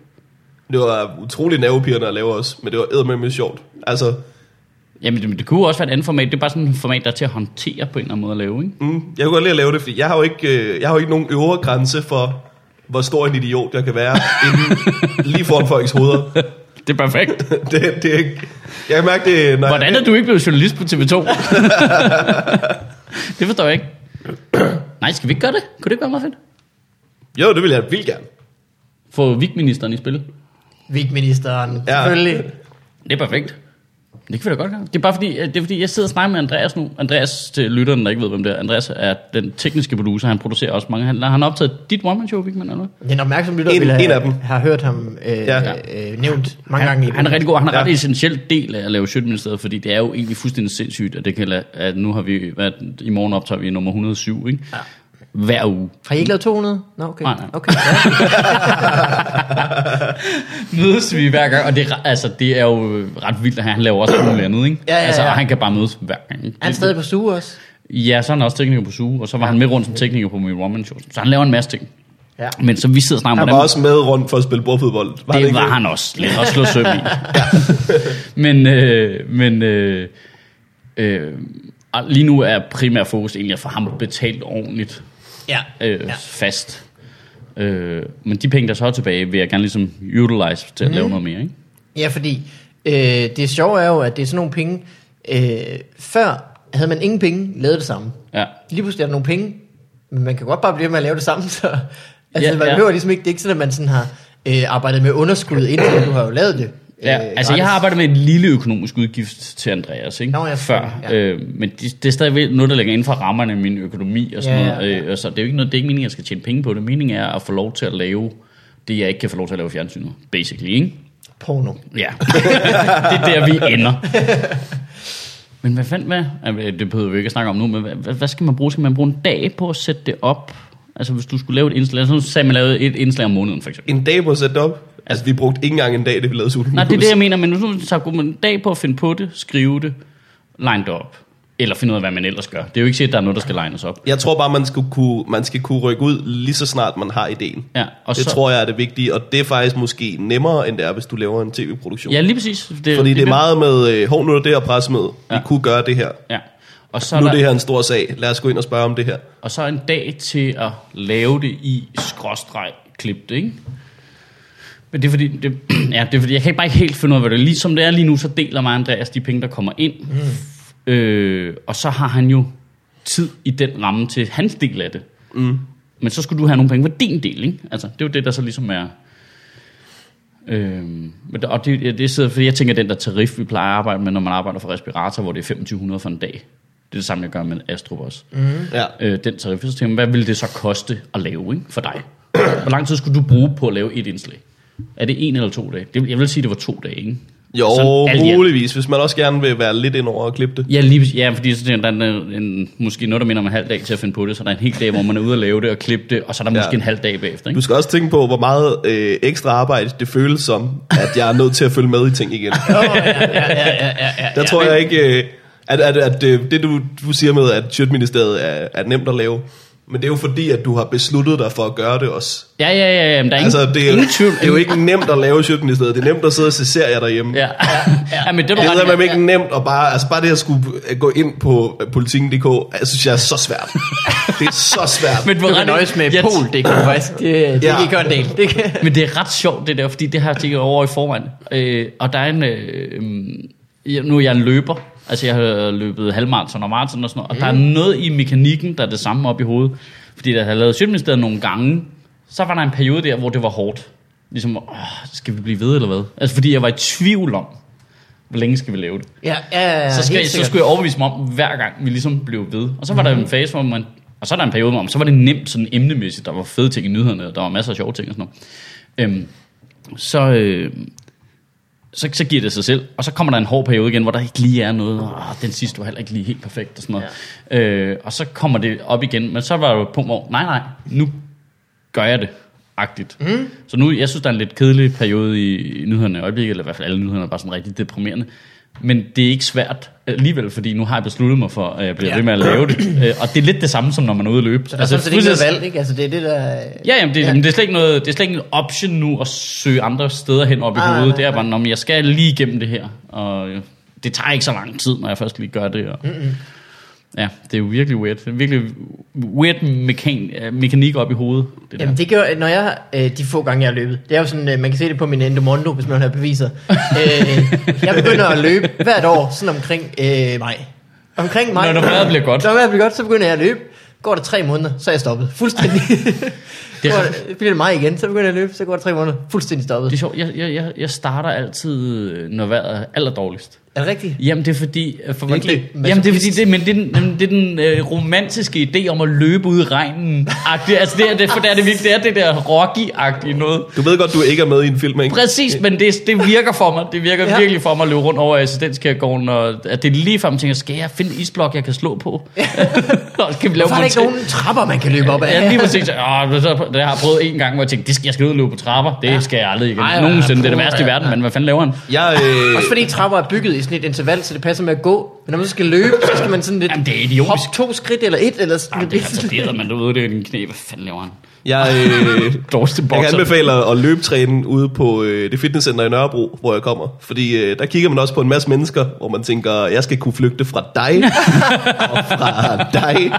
Det var utrolig nervepirrende at lave også, men det var eddermame sjovt. Altså, Jamen, det, det kunne jo også være et andet format. Det er bare sådan et format, der er til at håndtere på en eller anden måde at lave, ikke? mm, jeg kunne godt lide at lave det, fordi jeg har jo ikke, øh, jeg har jo ikke nogen øvre grænse for, hvor stor en idiot jeg kan være, inden, lige foran folks hoveder. [LAUGHS] Det er perfekt. Det, det er ikke, jeg kan mærke det, [LAUGHS] når Hvordan er du ikke blevet journalist på TV2? [LAUGHS] det forstår jeg ikke. Nej, skal vi ikke gøre det? Kunne det ikke være meget fedt? Jo, det vil jeg vildt gerne. Få vigministeren i spil. Vigministeren, ja. Ja. selvfølgelig. Det er perfekt. Det kan vi da godt gøre. Det er bare fordi, øh, det er fordi jeg sidder og snakker med Andreas nu. Andreas, til lytteren, der ikke ved, hvem det er. Andreas er den tekniske producer. Han producerer også mange. Han han har optaget dit one-man-show, Vigman, eller noget? Den opmærksomme lytter En- ville have, en af dem. have hørt ham øh, ja. Ja. øh, nævnt mange han, gange. i han er rigtig god. Han er Ja. ja. ret essentiel del af at lave Sjøtministeriet, fordi det er jo egentlig fuldstændig sindssygt, at, det kan lade, at nu har vi, hvad, i morgen optager vi nummer 107, ikke? Ja. Hver uge. Har I ikke lavet 200? Nå, okay. Mm. Nej, nej. okay. Ja. Mødes vi hver gang, og det, er re- altså, det er jo ret vildt, at han laver også noget andet, ikke? Ja, ja, ja. Altså, og han kan bare mødes hver gang. Er han stadig på suge også? Ja, så er han også tekniker på SUGE, og så var han med rundt som tekniker på min woman show. Så han laver en masse ting. Ja. Men så vi sidder og snakker om, Han var også med rundt for at spille bordfodbold. Var det ikke var han også. Lidt [LAUGHS] også slå søm i. men øh, men øh, øh, og lige nu er primær fokus egentlig at få ham betalt ordentligt Ja. øh, ja. fast. Øh, men de penge, der så er tilbage, vil jeg gerne ligesom utilize til at mm. lave noget mere. Ikke? ja, fordi øh, det sjove er jo, at det er sådan nogle penge, øh, før havde man ingen penge, lavede det samme. Ja. Lige pludselig er der nogle penge, men man kan godt bare blive ved med at lave det samme, så... [LAUGHS] Altså, Ja, man ja. behøver ligesom ikke, det er ikke sådan, at man sådan har øh, arbejdet med underskud, indtil du har jo lavet det. Ja, øh, altså jeg har gratis. arbejdet med en lille økonomisk udgift til Andreas, ikke? Nå, ja, Før. ja. Øh, men det, det er stadigvæk noget, der ligger inden for rammerne af min økonomi og sådan Ja, ja, ja, noget. ja. Øh, og så det er jo ikke noget, det er ikke meningen, at jeg skal tjene penge på det. Meningen er at få lov til at lave det, jeg ikke kan få lov til at lave i fjernsynet. Basically, ikke? Porno. [LAUGHS] Ja. det er der, vi ender. Men hvad fanden hvad? Jamen, Det behøver vi ikke at snakke om nu, men hvad, hvad- hvad skal man bruge? Skal man bruge en dag på at sætte det op? Altså hvis du skulle lave et indslag, så sagde man lavede et indslag om måneden for eksempel. En dag på at sætte det op. Altså, vi brugte ikke engang en dag, det vi lavede Sulten Nej, det er det, jeg mener, men nu så kunne man en dag på at finde på det, skrive det, line det op. Eller finde ud af, hvad man ellers gør. Det er jo ikke sikkert, at der er noget, der skal lines op. Jeg tror bare, man skal, kunne, man skal kunne rykke ud lige så snart man har ideen. Ja, og Og det så, så... tror jeg er det vigtige, og det er faktisk måske nemmere, end det er, hvis du laver en tv-produktion. Ja, lige præcis. Det, Fordi det er meget med, øh, hov, nu er det her pressemøde, ja. vi Ja. kunne gøre det her. Ja. Og så er Nu er der- det her en stor sag, lad os gå ind og spørge om det her. Og så en dag til at lave det i skråstreg klip det, ikke? Men det er fordi, det, [CLEARS THROAT] ja, det er fordi, jeg kan ikke bare ikke helt finde ud af, hvad det er. Ligesom det er lige nu, så deler mig og Andreas de penge, der kommer ind. Mm. Øh, og så har han jo tid i den ramme til hans del af det. Mm. Men så skulle du have nogle penge for din del, ikke? Altså, det er jo det, der så ligesom er... Øhm, men der- og det, ja, det sidder, fordi jeg tænker, at den der tarif, vi plejer at arbejde med, når man arbejder for respirator, hvor det er 2500 for en dag. Det er det samme, jeg gør med Astrup også Ja. øh, den tarifsystem, hvad ville det så koste at lave ikke, for dig? Hvor lang tid skulle du bruge på at lave et indslag? Er det en eller to dage? Det, jeg vil sige, det var to dage, ikke? Jo, Sådan alt i alt. muligvis, hvis man også gerne vil være lidt ind over og klippe det. Ja, lige, ja fordi så tænker jeg, der er en, en, måske noget, der minder om en halv dag til at finde på det, så der er en hel dag, hvor man er ude og lave det og klippe det, og så er der Ja. måske en halv dag bagefter. Du Ikke? skal også tænke på, hvor meget øh, ekstra arbejde det føles som, at jeg er nødt til at følge med i [LAUGHS] ting igen. Der tror jeg ikke, øh, at, at, at øh, det du, du siger med, at Sjøtministeriet er, er nemt at lave, men det er jo fordi, at du har besluttet dig for at gøre det også. Ja, ja, ja, ja men der er Altså, ingen, det er, ingen tvivl. det er jo ikke nemt at lave Sjøtministeriet, det er nemt at sidde og se serier derhjemme. Ja, [LAUGHS] ja, ja. ja men det er du Det ret i. er man ikke nemt at bare, altså bare det at skulle øh, gå ind på øh, politikken.dk, jeg synes jeg er så [LAUGHS] svært. det er så svært. Men, Men, du Du har kan ret i- nøjes med jeg- Pol, det kan faktisk. Det, [LAUGHS] det Ja. ja. ikke gør en del. Det [LAUGHS] kan. Men det er ret sjovt det der, fordi det har jeg tænkt over i forvejen. Øh, og der er en... Øh, øhm, jeg- nu er jeg en løber. Altså jeg har løbet halvmarathon og maraton og sådan noget. Og der er noget i mekanikken, der er det samme op i hovedet. Fordi da jeg havde lavet Sjøtministeriet nogle gange, så var der en periode der, hvor det var hårdt. Ligesom, åh, skal vi blive ved eller hvad? Altså fordi jeg var i tvivl om, hvor længe skal vi lave det Ja, ja, ja, så, skal, helt så sikkert. Mhm. skulle jeg overbevise mig om, hver gang vi ligesom blev ved. Og så var der en fase, hvor man... Og så var der en periode, hvor man, så var det nemt sådan emnemæssigt. Der var fede ting i nyhederne, og der var masser af sjove ting og sådan noget. Øhm, så, øh, så, så giver det sig selv. Og så kommer der en hård periode igen, hvor der ikke lige er noget. Og, "Ah, den sidste var heller ikke lige helt perfekt og sådan noget. Ja. Øh, og så kommer det op igen. Men så var der jo et punkt, hvor nej, nej, nu gør jeg det. Agtigt. Mm. Så nu, jeg synes, der er en lidt kedelig periode i, i nyhederne i øjeblikket, eller i hvert fald alle nyhederne er bare sådan rigtig deprimerende. Men det er ikke svært øh, alligevel, fordi nu har jeg besluttet mig for, at jeg bliver Ja. ja. ved med at lave det. Øh, og det er lidt det samme, som når man er ude at løbe. Altså, Så der er sådan set ikke noget fuldstændig- valg, ikke? Altså, det er det, der... Ja, jamen, det, Ja. ja. det, er slet ikke noget, det er slet ikke en option nu at søge andre steder hen op i Nej, Ah, nej, hovedet. nej, Det er bare, "Nå, men jeg skal lige igennem det her. Og øh, det tager ikke så lang tid, når jeg først lige gør det. Og, ja, det er jo virkelig weird. Det er virkelig weird mekan, øh, mekanik op i hovedet. Det der. Jamen det gør, når jeg, øh, de få gange jeg har løbet, det er jo sådan, øh, man kan se det på min Endomondo, hvis man [LAUGHS] har beviser. øh, jeg begynder at løbe hvert år, sådan omkring øh, maj. Omkring maj. Når- når vejret bliver godt. Når vejret bliver godt, så begynder jeg at løbe. Går det tre måneder, så er jeg stoppet. Fuldstændig. [LAUGHS] Det det er- er... bliver det maj igen, så begynder jeg at løbe, så går det tre måneder. Fuldstændig stoppet. Det er sjovt, jeg, jeg, jeg, jeg starter altid, øh, når vejret er allerdårligst. Er det rigtigt? Jamen det er fordi, øh, for Det er det er ikke det. jamen det er fordi, det, men det er den, jamen, det er den øh, romantiske idé om at løbe ud i regnen. Det, altså det er det, for det er det virkelig, det er det der Rocky-agtige noget. du ved godt, du ikke er med i en film, ikke? Præcis, men det, det virker for mig. Det virker Ja. ja. virkelig for mig at løbe rundt over assistenskærgården, og at det er lige frem, jeg tænker, skal jeg finde en isblok, jeg kan slå på? [LAUGHS] og kan vi lave Hvorfor er der ikke montage- nogen trapper, man kan løbe op ad? Ja, lige præcis. Åh, så- det har jeg prøvet en gang, hvor jeg tænkte, det skal, jeg skal ud og løbe på trapper. Det skal jeg aldrig igen. Ej, Ej, ej, Nogensinde. ej, Det er det puh, værste i ja, verden, men hvad fanden laver han? Jeg, øh, Også fordi trapper er bygget i sådan et interval, så det passer med at gå. Men når man så skal løbe, så skal man sådan lidt Jamen, det er idiotisk. hoppe to skridt eller et. Eller sådan Jamen, det er altså bedre, man ude det i din knæ. Hvad fanden laver han? [LAUGHS] jeg, øh, Dårligste Jeg kan bokser. anbefale at- at løbetræne ude på øh, det fitnesscenter i Nørrebro, hvor jeg kommer. Fordi øh, der kigger man også på en masse mennesker, hvor man tænker, jeg skal kunne flygte fra [LAUGHS] dig, og fra dig,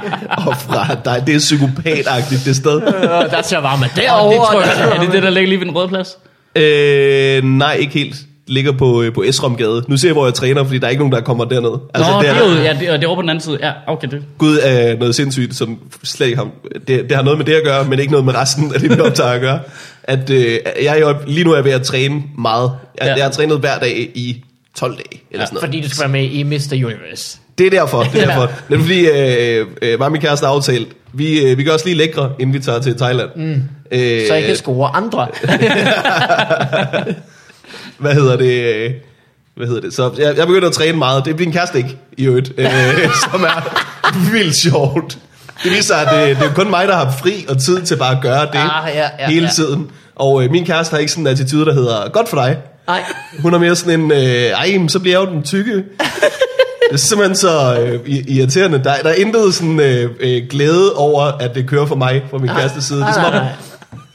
og fra dig. Det er psykopatagtigt, det sted. Øh, der ser varme Åh, derovre. det tror jeg, der ser er det varme. det, der ligger lige ved den røde plads? Øh, nej, ikke helt. ligger på, øh, på Esromgade. Nu ser jeg, hvor jeg træner, fordi der er ikke nogen, der kommer derned. Altså, Nå, det er, der- jo, ja, det, og det er over på den anden side. Ja, okay, det. Gud er noget sindssygt, som slet ikke har, det, det har noget med det at gøre, men ikke noget med resten af det, vi optager at gøre. At, øh, jeg, er jo- lige nu er jeg ved at træne meget. Jeg, Ja. ja. jeg har trænet hver dag i 12 dage, eller ja, sådan noget. Fordi du skal være med i Mr. Universe. Det er derfor, det Ja. er derfor. Det er fordi, øh, øh, mig og min kæreste har aftalt, vi, øh, vi gør os lige lækre, inden vi tager til Thailand. Mm. Øh, Så jeg kan score [LAUGHS] andre. hvad hedder det? øh, Hvad hedder det? Så jeg, jeg begynder at træne meget. Det er min kæreste ikke, i øvrigt, øh, [LAUGHS] som er vildt sjovt. Det viser sig, at det, det er kun mig, der har fri og tid til bare at gøre det Ah, ja, ja, hele ja. tiden. Og øh, min kæreste har ikke sådan en attitude, der hedder, godt for dig. Nej. Hun er mere sådan en, øh, ej, men så bliver jeg jo den tykke. Det er simpelthen så øh, i- irriterende. Der, der er intet sådan øh, øh, glæde over, at det kører for mig fra Ah, min kæreste side. Det er, som om, nej, nej.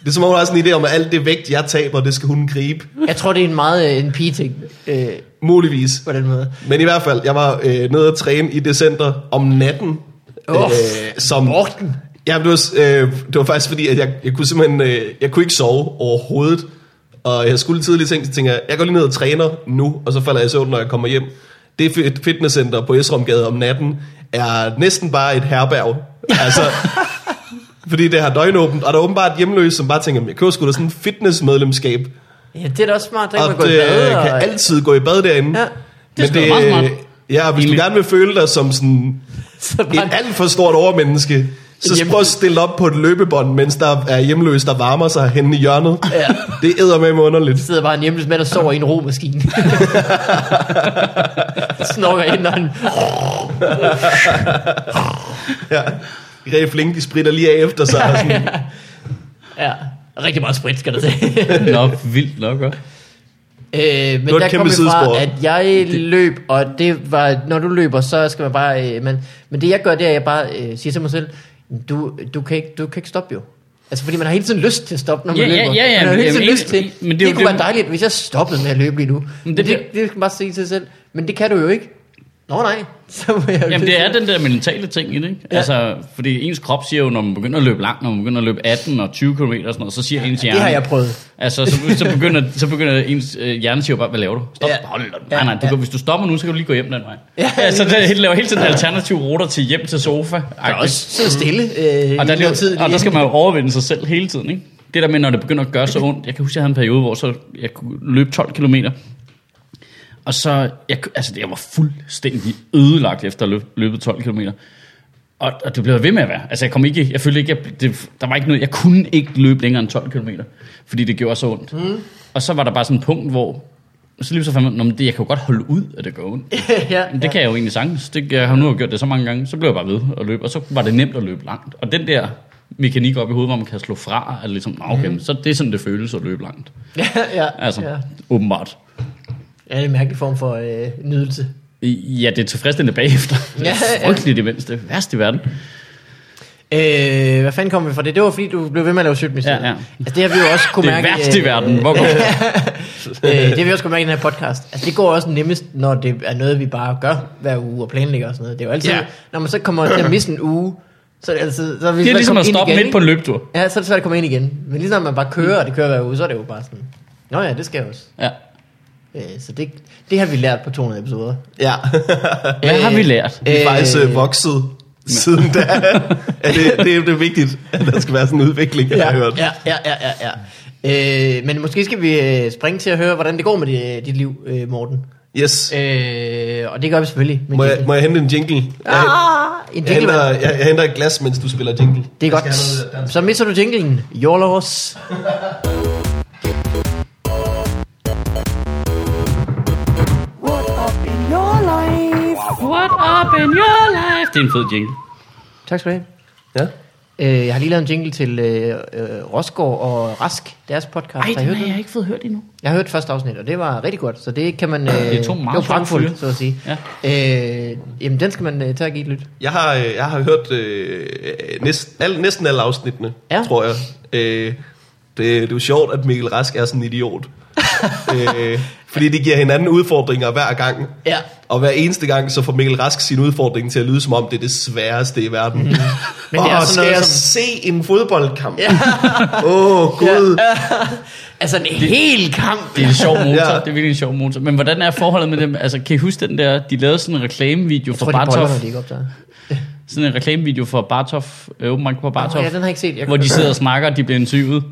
det er som om, hun har sådan en idé om, at alt det vægt, jeg taber, det skal hun gribe. Jeg tror, det er en meget øh, en pige-ting øh, Muligvis. på den måde. Men i hvert fald, jeg var øh, nede at træne i det center om natten. Øh, Åh, som, Morten. Ja, det, var, s- øh, det var faktisk fordi, at jeg, jeg kunne simpelthen øh, jeg kunne ikke sove overhovedet. Og jeg skulle tidligt tænke, så tænkte jeg, jeg går lige ned og træner nu, og så falder jeg i søvn, når jeg kommer hjem. Det fit- fitnesscenter på Esromgade om natten er næsten bare et [LAUGHS] herberg. Altså, fordi det har døgnåbent, og der er åbenbart hjemløse, som bare tænker, "Men jeg køber sgu da sådan en fitnessmedlemskab, Ja, det er da også smart. Der kan man og gå i det øh, bad. kan og- altid gå i bad derinde. Ja, det er sgu da meget smart. Ja, og hvis du Egentlig. gerne vil føle dig som sådan så et bare, alt for stort overmenneske, så Hjemme- prøv at stille op på et løbebånd, mens der er hjemløs, der varmer sig henne i hjørnet. Ja. Det æder med underligt. sidder bare en hjemløs mand og sover i en [LAUGHS] romaskine. Snorker ind, når han... Ja. Ræf Flink, de spritter lige af efter sig. og [LAUGHS] Sådan. Ja, rigtig meget sprit, skal der til. Nå, vildt nok, hva'? øh, men var et der kæmpe kom vi sidespor. fra, at jeg løb, og det var, når du løber, så skal man bare... Øh, men, men det jeg gør, det er, at jeg bare øh, siger til mig selv, du, du, kan ikke, du kan ikke stoppe jo. Altså, fordi man har hele tiden lyst til at stoppe, når man Ja, ja, løber. ja, ja, man har men hele tiden jamen, lyst til. egentlig- Men men det det, det er jo- det kunne er være jo- dejligt, hvis jeg stoppede med at løbe lige nu. Men, det, det det, det, kan man bare sige til sig selv. Men det kan du jo ikke. Nå nej, [LAUGHS] så må jeg jo Jamen til- det er den der mentale ting i det, ikke? Ja. Altså, fordi ens krop siger jo, når man begynder at løbe langt, når man begynder at løbe 18 og 20 km og sådan noget, så siger ens hjerne... Det har jeg prøvet. Altså, så, så, begynder, så begynder ens øh, hjerne siger jo bare, hvad laver du? Stop, Ja. ja. hold da. Ah, Ja, Nej, nej, du ja. ja. kan, hvis du stopper nu, så kan du lige gå hjem den vej. Ja, Ja, altså, lige det laver hele tiden alternative ruter til hjem til sofa. Der er også sidde stille øh, Mm. Og der, i noget tid. lige, og der skal man jo overvinde sig selv hele tiden, ikke? Det der med, når det begynder at gøre så ondt. Jeg kan huske, jeg havde en periode, hvor så jeg kunne løbe 12 km. Og så, jeg, ku- altså jeg var fuldstændig ødelagt efter at løbe, løbet 12 km. Og, og det blev jeg ved med at være. Altså jeg kom ikke, jeg følte ikke, jeg, det, der var ikke noget, jeg kunne ikke løbe længere end 12 km, fordi det gjorde så ondt. Mm. Og så var der bare sådan et punkt, hvor så lige så fandt man, "Nå, men det, jeg kan jo godt holde ud, at det gør ondt. [LAUGHS] ja, Men det kan jeg jo egentlig sagtens. Det, jeg har nu gjort det så mange gange, så blev jeg bare ved at løbe, og så var det nemt at løbe langt. Og den der mekanik op i hovedet, hvor man kan slå fra, er ligesom, "Nå, okay, mm. så det er sådan, det føles at løbe langt. ja, ja, Altså, ja. ja. åbenbart. ja, det er en mærkelig form for øh, nydelse. I- Ja, det er tilfredsstillende bagefter. [LAUGHS] Ja, Ja, ja. ja. Frygteligt imens, det er værst i verden. Øh, hvad fanden kom vi fra det? Det var fordi, du blev ved med at lave sygt Ja, ja. Altså, det har vi jo også kunne Det er mærke... værst i verden. Hvor [LAUGHS] går øh, det har vi også kunne mærke i den her podcast. Altså, det går også nemmest, når det er noget, vi bare gør hver uge og planlægger og sådan noget. Det er jo altid... Ja. Når man så kommer til at misse en uge, så er det altid... Så er vi Det svært er ligesom komme at ind stoppe igen, midt på en ikke? løbetur. Ja, så er det svært at komme ind igen. Men lige når man bare kører, og det kører hver uge, så er det jo bare sådan... Nå ja, det skal jeg også. Ja. Øh, så det, det har vi lært på 200 episoder. Ja, Hvad har vi lært? vi er faktisk øh, vokset siden da. Ja, det, det er det vigtigt, at der skal være sådan en udvikling, jeg ja, har hørt. Ja, ja, ja, ja. ja. Øh, men måske skal vi øh, springe til at høre, hvordan det går med dit, dit liv, øh, Morten. Yes. Øh, og det gør vi selvfølgelig. Med Må jingle. jeg, må jeg hente en jingle? Jeg, ah, en Jeg jingle. henter, mand. jeg, jeg henter et glas, mens du spiller jingle. Det er Jeg skal have noget godt. dansk. Så misser du jinglen. Your loss. What up in your life? What up in your life? Det er en fed jingle. Tak skal du have. Ja. Øh, jeg har lige lavet en jingle til øh, øh, Rosgaard og Rask, deres podcast. Ej, har I hørt den har den? jeg ikke fået hørt endnu. Jeg har hørt første afsnit, og det var rigtig godt, så det kan man... Øh, er to meget det var pragtfuldt, flotte fyre. så at sige. Ja. Øh, jamen, den skal man øh, tage og give et lyt. Jeg har, øh, jeg har hørt øh, næsten, al, næsten alle afsnittene, Ja. [LAUGHS] ja. tror jeg. Øh, det, det er jo sjovt, at Mikkel Rask er sådan en idiot. øh, fordi de giver hinanden udfordringer hver gang. Ja. Og hver eneste gang, så får Mikkel Rask sin udfordring til at lyde, som om det er det sværeste i verden. Mm. Men Mhm. Men og det er sådan skal noget jeg som- se en fodboldkamp? Ja. [LAUGHS] Åh, oh, gud. Ja. altså en hel kamp. Det er en [LAUGHS] sjov motor, Ja. ja. det er virkelig en sjov motor. Men hvordan er forholdet med dem? Altså, kan I huske den der, de lavede sådan en reklamevideo Jeg tror, for de boller, når Bartoff, de ikke optager. sådan en reklamevideo for Bartoff, øh, open mic på Åh, Bartoff, ja, den har jeg ikke set. Jeg hvor de kunne- sidder og snakker, og de bliver interviewet,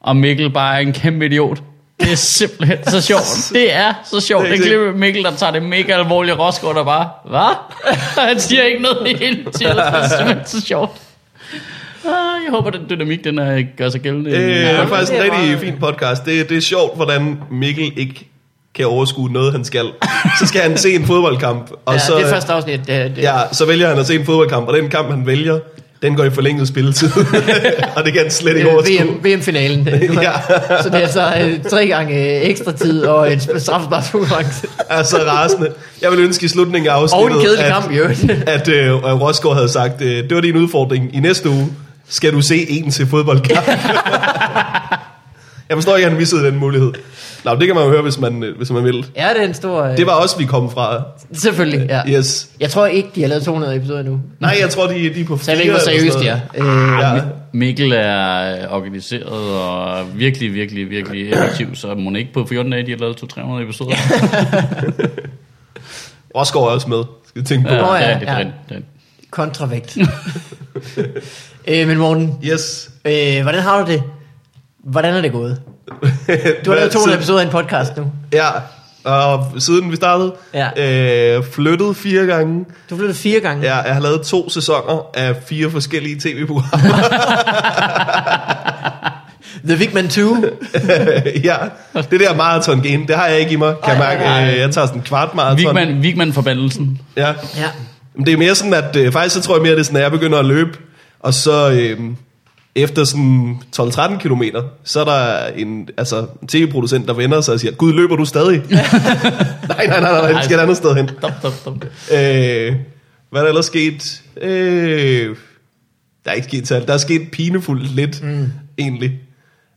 og Mikkel bare er en kæmpe idiot. Det er simpelthen så sjovt. [LAUGHS] Det er så sjovt. Det er Det ikke er Mikkel, der tager det mega alvorligt. Rosgaard der bare, hvad? [LAUGHS] Han siger ikke noget i hele tiden. Det er simpelthen så sjovt. Ah, Jeg håber, den dynamik, den er, gør sig gældende. Det Øh, er Ja, faktisk det er en rigtig meget- fin podcast. Det, det er sjovt, hvordan Mikkel ikke kan overskue noget, han skal. Så skal han se en fodboldkamp. Og Ja, så, det er første afsnit. øh, Det, det, ja. Ja, så vælger han at se en fodboldkamp, og den kamp, han vælger, den går i forlænget spilletid. [LAUGHS] og det kan han slet ikke øh, VM, overskue. VM-finalen. Ja. så det er altså øh, tre gange øh, ekstra tid og en straffesparkskonkurrence. Er så rasende. Jeg vil ønske i slutningen af Og en afsnittet, kedelig at, kamp i øvrigt. [LAUGHS] at øh, Rosgaard havde sagt, øh, det var din udfordring. I næste uge skal du se en til fodboldkamp. [LAUGHS] jeg forstår ikke, at han missede den mulighed. Nå, det kan man jo høre, hvis man, øh, hvis man vil. Ja, det er en stor... øh, Det var også, vi kom fra. Selvfølgelig, ja. Yes. Jeg tror ikke, de har lavet 200 episoder endnu. Nej, jeg tror, de, de er på Så jeg ved ikke, fire hvor eller seriøst sådan de er. noget. Øh, Ja. Mikkel er øh, organiseret og virkelig, virkelig, virkelig effektiv, så må ikke på 14 dage, de har lavet 200-300 episoder. Rosgaard er også med. Skal jeg tænke på. Nå, ja, det er rigtigt, det er ja. rigtigt, det er rigtigt. kontravægt. øh, men Morten, Yes. øh, hvordan har du det? Hvordan er det gået? [LAUGHS] Du har Hvad- lavet 200 så- episoder af en podcast nu. Ja, og siden vi startede, Ja. øh, flyttet fire gange. Du flyttede fire gange. Ja, jeg har lavet to sæsoner af fire forskellige tv-programmer. [LAUGHS] [LAUGHS] The Big Man 2. ja, det der maraton game, det har jeg ikke i mig, kan jeg Ej, mærke. ej, ej. Øh, Jeg tager sådan en kvart maraton. Vigman, Vigman forbandelsen. Ja. Ja. Men det er mere sådan, at øh, faktisk så tror jeg mere, det er sådan, at jeg begynder at løbe, og så øh, efter sådan 12-13 kilometer, så er der en altså, en tv-producent, der vender sig og siger, Gud, løber du [LAUGHS] stadig? [LAUGHS] nej, nej, nej, nej, nej, vi skal et andet sted hen. Stop, stop, stop. Øh, hvad er der ellers sket? Øh, der er ikke sket særlig. Der er sket pinefuldt lidt, mm. egentlig.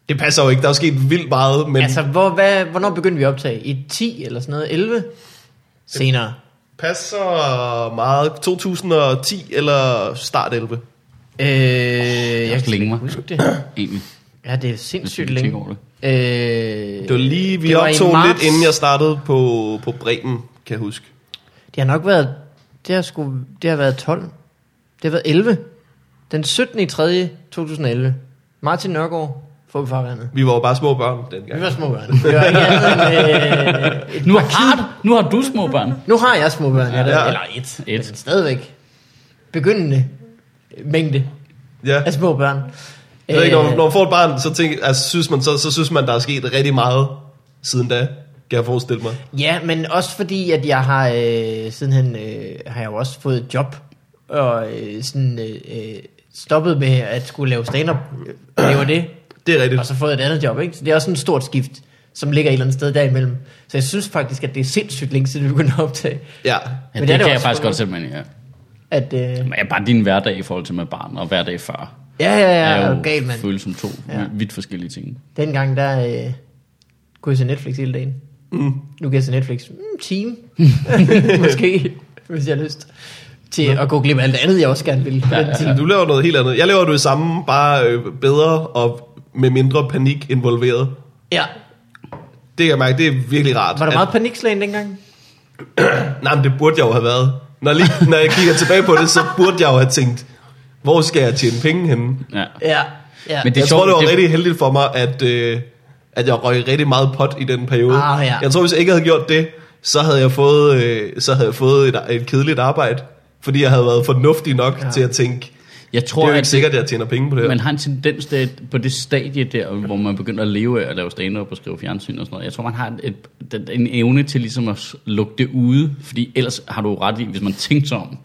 Det passer jo ikke. Der er jo sket vildt meget, men Altså, altså, hvor, hvad, hvornår begyndte vi at optage? I 10 eller sådan noget? 11? Senere. passer meget. 2010 eller start 11. Øh, jeg også længe, hva'? huske det. Egentlig, Ja, det er hvis sindssygt vi tænker længe. over det. Øh, Det var lige, vi det var i optog marts. lidt, inden jeg startede på, på Bremen, kan jeg huske. Det har nok været... Det har, sgu, det har været 12. Det har været 11. Den 17. i 3. 2011. Martin Nørgaard, fodboldfarvandet. Vi var jo bare små børn dengang. Vi var små børn. Det var ikke andet end, øh, et Nu par har, du, nu har du små børn. Nu har jeg små børn. Ja, det, Ja. Eller et. Et. Men stadigvæk. Begyndende mængde Ja. af små børn. Jeg ved ikke, når, øh- når man får et barn, så, tænker, altså, synes man, så, så synes man, der er sket rigtig meget siden da, kan jeg forestille mig. Ja, men også fordi, at jeg har øh, sidenhen, øh, har jeg jo også fået et job, og øh, sådan øh, øh, stoppet med at skulle lave stand-up, øh, og laver det, Det er rigtigt. og så fået et andet job, ikke? Så det er også sådan et stort skift, som ligger et eller andet sted derimellem. Så jeg synes faktisk, at det er sindssygt længe siden, vi begyndte at optage. Ja. Ja, Men det, det er det det kan jeg også faktisk for godt sætte mig ind i. Ja. At, øh, ja, Men ja, bare din hverdag i forhold til med barn og hverdag før. ja, ja, er er jo galt, mand. føles som to Ja. ja. vidt forskellige ting. Dengang, der øh, kunne jeg se Netflix hele dagen. Mm. Nu kan jeg se Netflix mm, time, [LAUGHS] måske, hvis jeg har lyst til at gå glip af alt andet, jeg også gerne vil på Ja, den ja, tid. Du laver noget helt andet. Jeg laver det samme, bare øh, bedre og med mindre panik involveret. Ja. Det kan jeg mærke, det er virkelig rart. Var der meget panikslagen dengang? At, nej, men det burde jeg jo have været. Når, lige, når jeg kigger tilbage på det, så burde jeg jo have tænkt, hvor skal jeg tjene penge henne? Ja. Ja. ja. Men Det er sjovt, jeg tror, det var det- rigtig heldigt for mig, at, øh, at jeg røg rigtig meget pot i den periode. Ah, ja. Jeg tror, hvis jeg ikke havde gjort det, så havde jeg fået, øh, så havde jeg fået et, et kedeligt arbejde. Fordi jeg havde været fornuftig nok ja. til at tænke, Jeg det tror, er jo at ikke sikkert, at jeg tjener penge på det her. man har en tendens til, at på det stadie der, hvor man begynder at leve af at lave stand-up og skrive fjernsyn og sådan noget. Jeg tror, man har et, et, en evne til ligesom at s- lukke det ude, fordi ellers har du jo ret i, hvis man tænker sig om,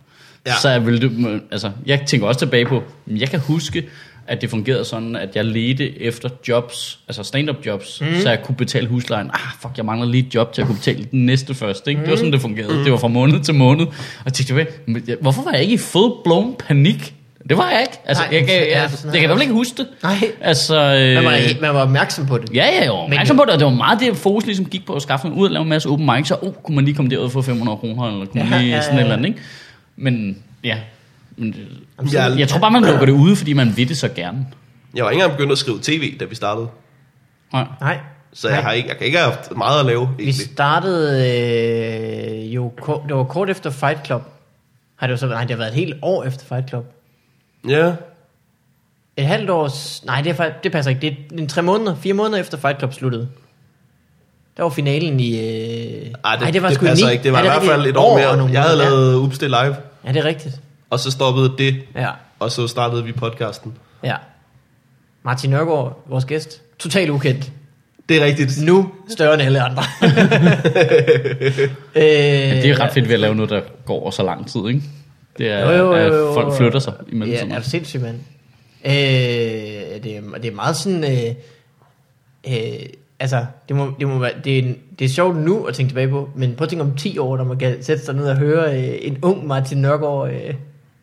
Ja. ja. så er vel det, altså, jeg tænker også tilbage på, men jeg kan huske, at det fungerede sådan, at jeg ledte efter jobs, altså stand-up jobs, Mhm. mm. så jeg kunne betale huslejen. Ah, fuck, jeg mangler lige et job til at kunne betale den næste først. Ikke? Det Mhm. var sådan, det fungerede. Mm. Det var fra måned til måned. Og jeg tænkte, "Hvad? Men jeg- hvorfor var jeg ikke i full blown panik? Det var jeg ikke. Altså, Nej, Nej, jeg, kan, jeg, ja, jeg, sådan jeg kan i hvert fald ikke huske det. Nej. Altså, øh, Man var, man var opmærksom på det. Ja, ja, jo. Men Men- på det, og det var meget det, fokus ligesom gik på at skaffe en ud og lave en masse open mic, så oh, kunne man lige komme derud for 500 kroner, eller kunne Ja, man lige ja, ja, ja, sådan et ja. eller andet, ikke? Men ja, men, det- Jeg- jeg tror bare, man lukker det ude, fordi man vil det så gerne. Jeg var ikke engang begyndt at skrive tv, da vi startede. Nej. Nej. Så jeg, Nej. har ikke, jeg kan ikke have haft meget at lave, Vi egentlig. startede øh, jo, ko- det var kort efter Fight Club. Har det jo så været, nej, det har været et helt år efter Fight Club. Ja, Et halvt års, nej, det, er, fa- det passer ikke. Det er en tre måneder, fire måneder efter Fight Club sluttede. Der var finalen i... Øh... Ej, det, Ej, det, det i passer ni. ikke. Det var Ja, i hvert rigtigt. fald et år og mere. nogle Jeg havde måneder. lavet Upstil Live, Ja, det er rigtigt. og så stoppede det, Ja, og så startede vi podcasten. ja. Martin Nørgaard, vores gæst. Totalt ukendt. Det er rigtigt. Nu større end alle andre. øh, Men det er ret fedt ved at lave noget, der går over så lang tid, ikke? Det er, Jo, jo, jo, jo, jo. at folk flytter sig Ja, altså, imellem er sådan du sindssyg, mand? Øh, det, er, det er meget sådan... Øh, øh, altså, det, må, det, må være, det, er, en- det er sjovt nu at tænke tilbage på, men prøv at tænke om 10 år, når man kan sætte sig ned og høre øh, en ung Martin Nørgaard øh,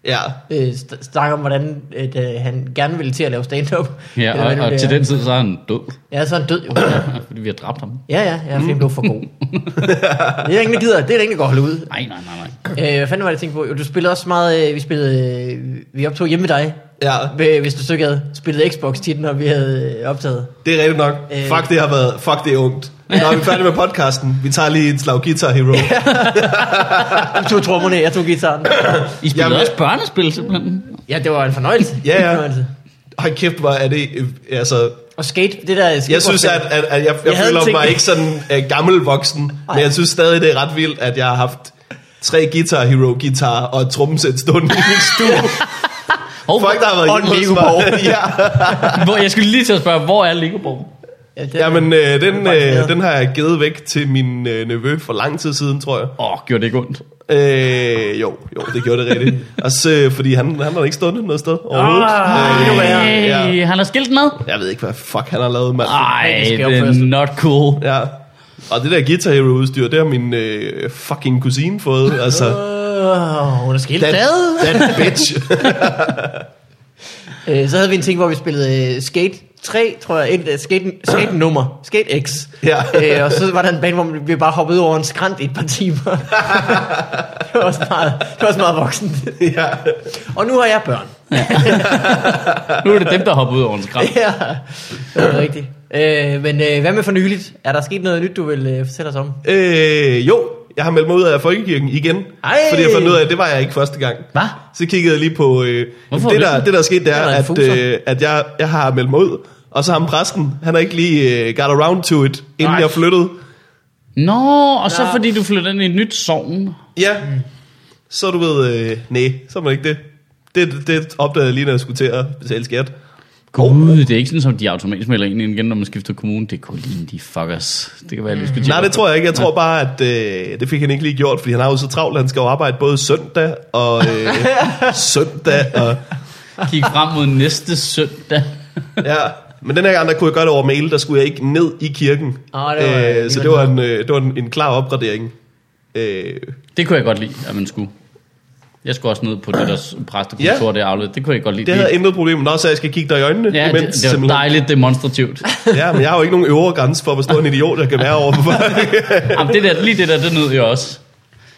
Ja, øh, st- snakke om, hvordan øh, det, han gerne ville til at lave stand-up. Eller hvad Ja, nu og, det og til er. den tid, så er han død, Ja, så er han død jo. fordi vi har dræbt ham. Ja, ja, ja, fordi han blev for [LAUGHS] god. det er ingen, der gider. Det er der ingen, der går holde ud. Nej, nej, nej, nej. Øh, hvad fanden var det, jeg tænkte på? Jo, du spillede også meget... Øh, vi spillede... Øh, vi optog hjemme ved dig. ja, Ved- Hvis du så ikke havde spillet Xbox tit, når vi havde øh, optaget. det er rigtigt nok. Øh. Fuck, det har været, fuck, det er ungt. Når vi er færdige med podcasten, vi tager lige en slag Guitar Hero. Du tog trommerne, jeg tog gitaren. I spillede Jamen- også børnespil, simpelthen. Ja, det var en fornøjelse. Ja, ja. En fornøjelse. Hold kæft, hvor er det... øh, Altså, Og skate, det der skate jeg synes, at, at, at jeg, jeg, Jeg havde føler tænkt- mig ikke sådan uh, gammel voksen, men jeg synes stadig, det er ret vildt, at jeg har haft tre Guitar Hero guitar og et trommesæt stående i min [LAUGHS] stue. Hov, Folk, der har været Og en hjemme hos Lego-borg. mig. [LAUGHS] ja. hvor, jeg skulle lige til at spørge, hvor er Legoborg? Ja, det, Jamen, Jamen. øh, den, faktisk øh, den har jeg givet væk til min øh, nevø for lang tid siden, tror jeg. Åh, oh, gjorde det ikke ondt? Øh, jo, jo, det gjorde det [LAUGHS] rigtigt. Også øh, fordi han, han har ikke stået noget sted overhovedet. Ah, endnu værre. øh, ja. Hey, han har skilt med? Jeg ved ikke, hvad fuck han har lavet, mand. Ej, det skal jeg det jo først. er not cool. Ja. Og det der Guitar Hero udstyr, det har min øh, fucking kusine fået. Altså, Oh, hun er skilt. that, Hvad? that bitch. Øh, Så havde vi en ting, hvor vi spillede øh, Skate 3, tror jeg. Et, øh, skate, skate nummer. Skate X. Ja. Øh, og så var der en bane, hvor vi bare hoppede ud over en skrant i et par [LAUGHS] timer. det, var også meget, det var også meget voksent. ja. Og nu har jeg børn. Nu er det dem, der hopper ud over en skram. [LAUGHS] ja, det er rigtigt. Øh, men øh, hvad med for nyligt? Er der sket noget nyt, du vil øh, fortælle os om? Øh, jo, jeg har meldt mig ud af Folkekirken igen. Ej. Fordi jeg fandt ud af, at det var jeg ikke første gang. Hvad? Så kiggede jeg lige på... Øh, Hvorfor det, er der, det? det, der er sket, det er, Det er da at, en fuser. øh, at jeg, jeg har meldt mig ud. Og så ham præsten, han har ikke lige øh, got around to it, inden Nej. jeg flyttede. Nå, og så Nå. fordi du flytter ind i et nyt sogn. Ja, Mm. så du ved... Øh, nej, så er man ikke det. Det, det opdagede jeg lige, når jeg skulle til at betale skat. Gud, det er ikke sådan, som de automatisk melder ind igen, når man skifter kommune. Det kunne ligne de fuckers. Det kan være, at Mm. jeg skulle Nej, det tror jeg ikke. Jeg tror bare, at øh, det fik han ikke lige gjort, fordi han har jo så travlt, at han skal jo arbejde både søndag og øh, [LAUGHS] søndag. Og, Kig frem mod næste søndag. ja. Men den her gang, der kunne jeg gøre det over mail, der skulle jeg ikke ned i kirken. Åh, Ah, det var øh, så det var, en, øh, det var en, en klar opgradering. Øh, Det kunne jeg godt lide, at man skulle. Jeg skulle også ned på det der præstekontor, ja. Ja. det afled. Det kunne jeg godt lide. det havde intet problem, når så jeg skal kigge dig i øjnene. ja, det, det var dejligt demonstrativt. Ja, men jeg har jo ikke nogen øvre grænse for, hvor stor en idiot jeg kan være over for [LAUGHS] folk. Jamen, det der, lige det der, det nød jeg også.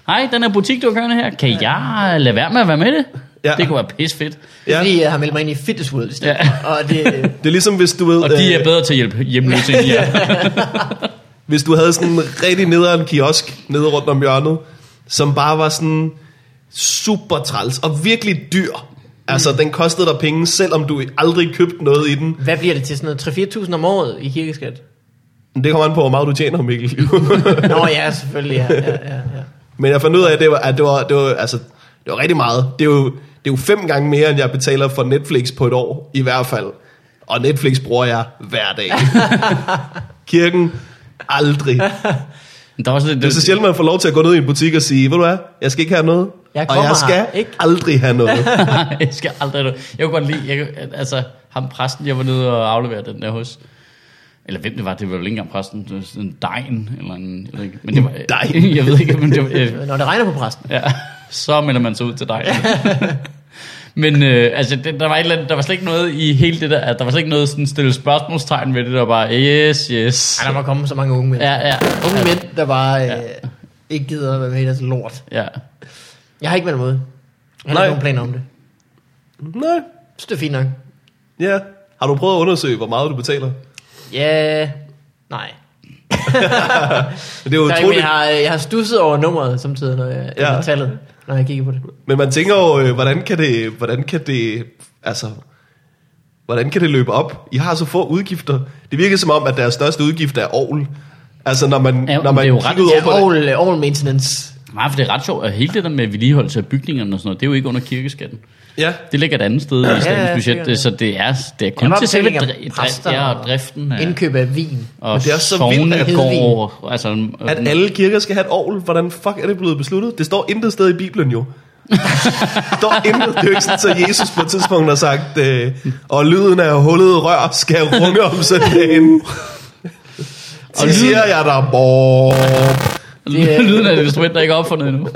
Hej, den her butik, du har kørende her. Kan jeg lade være med at være med i det? Ja. Det kunne være pis fedt. Det er Ja. fordi, jeg har meldt mig ind i Fitness World i stedet. Ja. Og det, øh, Det er ligesom, hvis du ved... Og de er øh, bedre til at hjælpe hjemløse end jer. [LAUGHS] Hvis du havde sådan en rigtig nederen kiosk nede rundt om hjørnet, som bare var sådan super træls og virkelig dyr. Mm. Altså, den kostede dig penge, selvom du aldrig købte noget i den. hvad bliver det til? Sådan noget 3-4.000 om året i [LAUGHS] kirkeskat? Men det kommer an på, hvor meget du tjener, Mikkel. Nå ja, selvfølgelig. Ja, ja, ja, ja. Men jeg fandt ud af, at det var, at det var, det var, altså, det var rigtig meget. Det er, jo, det er jo fem gange mere, end jeg betaler for Netflix på et år, i hvert fald. Og Netflix bruger jeg hver [LAUGHS] dag. Kirken, aldrig. Men Der er også lidt, Det er så sjældent, man får lov til at gå ned i en butik og sige, ved du hvad, jeg skal ikke have noget, Jeg og kommer jeg skal her, ikke?" aldrig have [LAUGHS] noget. [LAUGHS] Nej, jeg skal aldrig Jeg kunne godt lide, jeg, kunne- altså ham præsten, jeg var nede og afleverede den der hos. Eller hvem det var, det var jo ikke engang præsten, det var sådan en dejen, eller en, jeg ved ikke, men det var, [LAUGHS] Dejen? [LAUGHS] jeg ved ikke, men det var, øh, [LAUGHS] Når det regner på præsten. ja, så melder man sig ud til dig. Men øh, altså, det, der, var et eller andet, der var slet ikke noget i hele det der, at der var slet ikke noget sådan stille spørgsmålstegn ved det, der bare, yes, yes. Ej, der må komme så mange unge mænd. Ja, ja. Unge ja, mænd, der bare øh, ikke gider at være med i deres lort. Ja. Jeg har ikke været imod. Jeg har Nej. ikke nogen planer om det. Nej, Jeg synes, det er fint nok. ja. Har du prøvet at undersøge, hvor meget du betaler? Ja, nej. Men det er jo Der er ikke, utroligt. men jeg, har, jeg har stusset over nummeret samtidig, når jeg, Ja. ja. eller tallet, når jeg kigger på det. Men man tænker jo, øh, hvordan kan det, hvordan kan det, altså, hvordan kan det løbe op? I har så få udgifter. Det virker som om, at deres største udgift er ovl. Altså, når man, Ja, når men man det er jo ret- kigger ud Ja, over på Ja, det. all, all maintenance. Nej, for det er ret sjovt, at hele det der med vedligeholdelse af bygningerne og sådan noget, det er jo ikke under kirkeskatten. Ja, Det ligger et andet sted i statens ja, budget, sikkert, ja. så det er, det er Ja, kun der var til selve betaling af dri- præster dri- ja, og og driften Ja. af, Indkøb af vin. og Men det er også så vildt, sovne at går Hedvig- over. Altså, øh, at alle kirker skal have et ovl. Hvordan fuck er det blevet besluttet? Det står intet sted i Bibelen jo. Der står intet. Det er jo ikke sådan, så Jesus på et tidspunkt har sagt, øh, og lyden af hullet rør skal runge om Uh. søndagen. Og siger jeg der, boop. det er- [LAUGHS] lyden af et instrument, der ikke er opfundet endnu.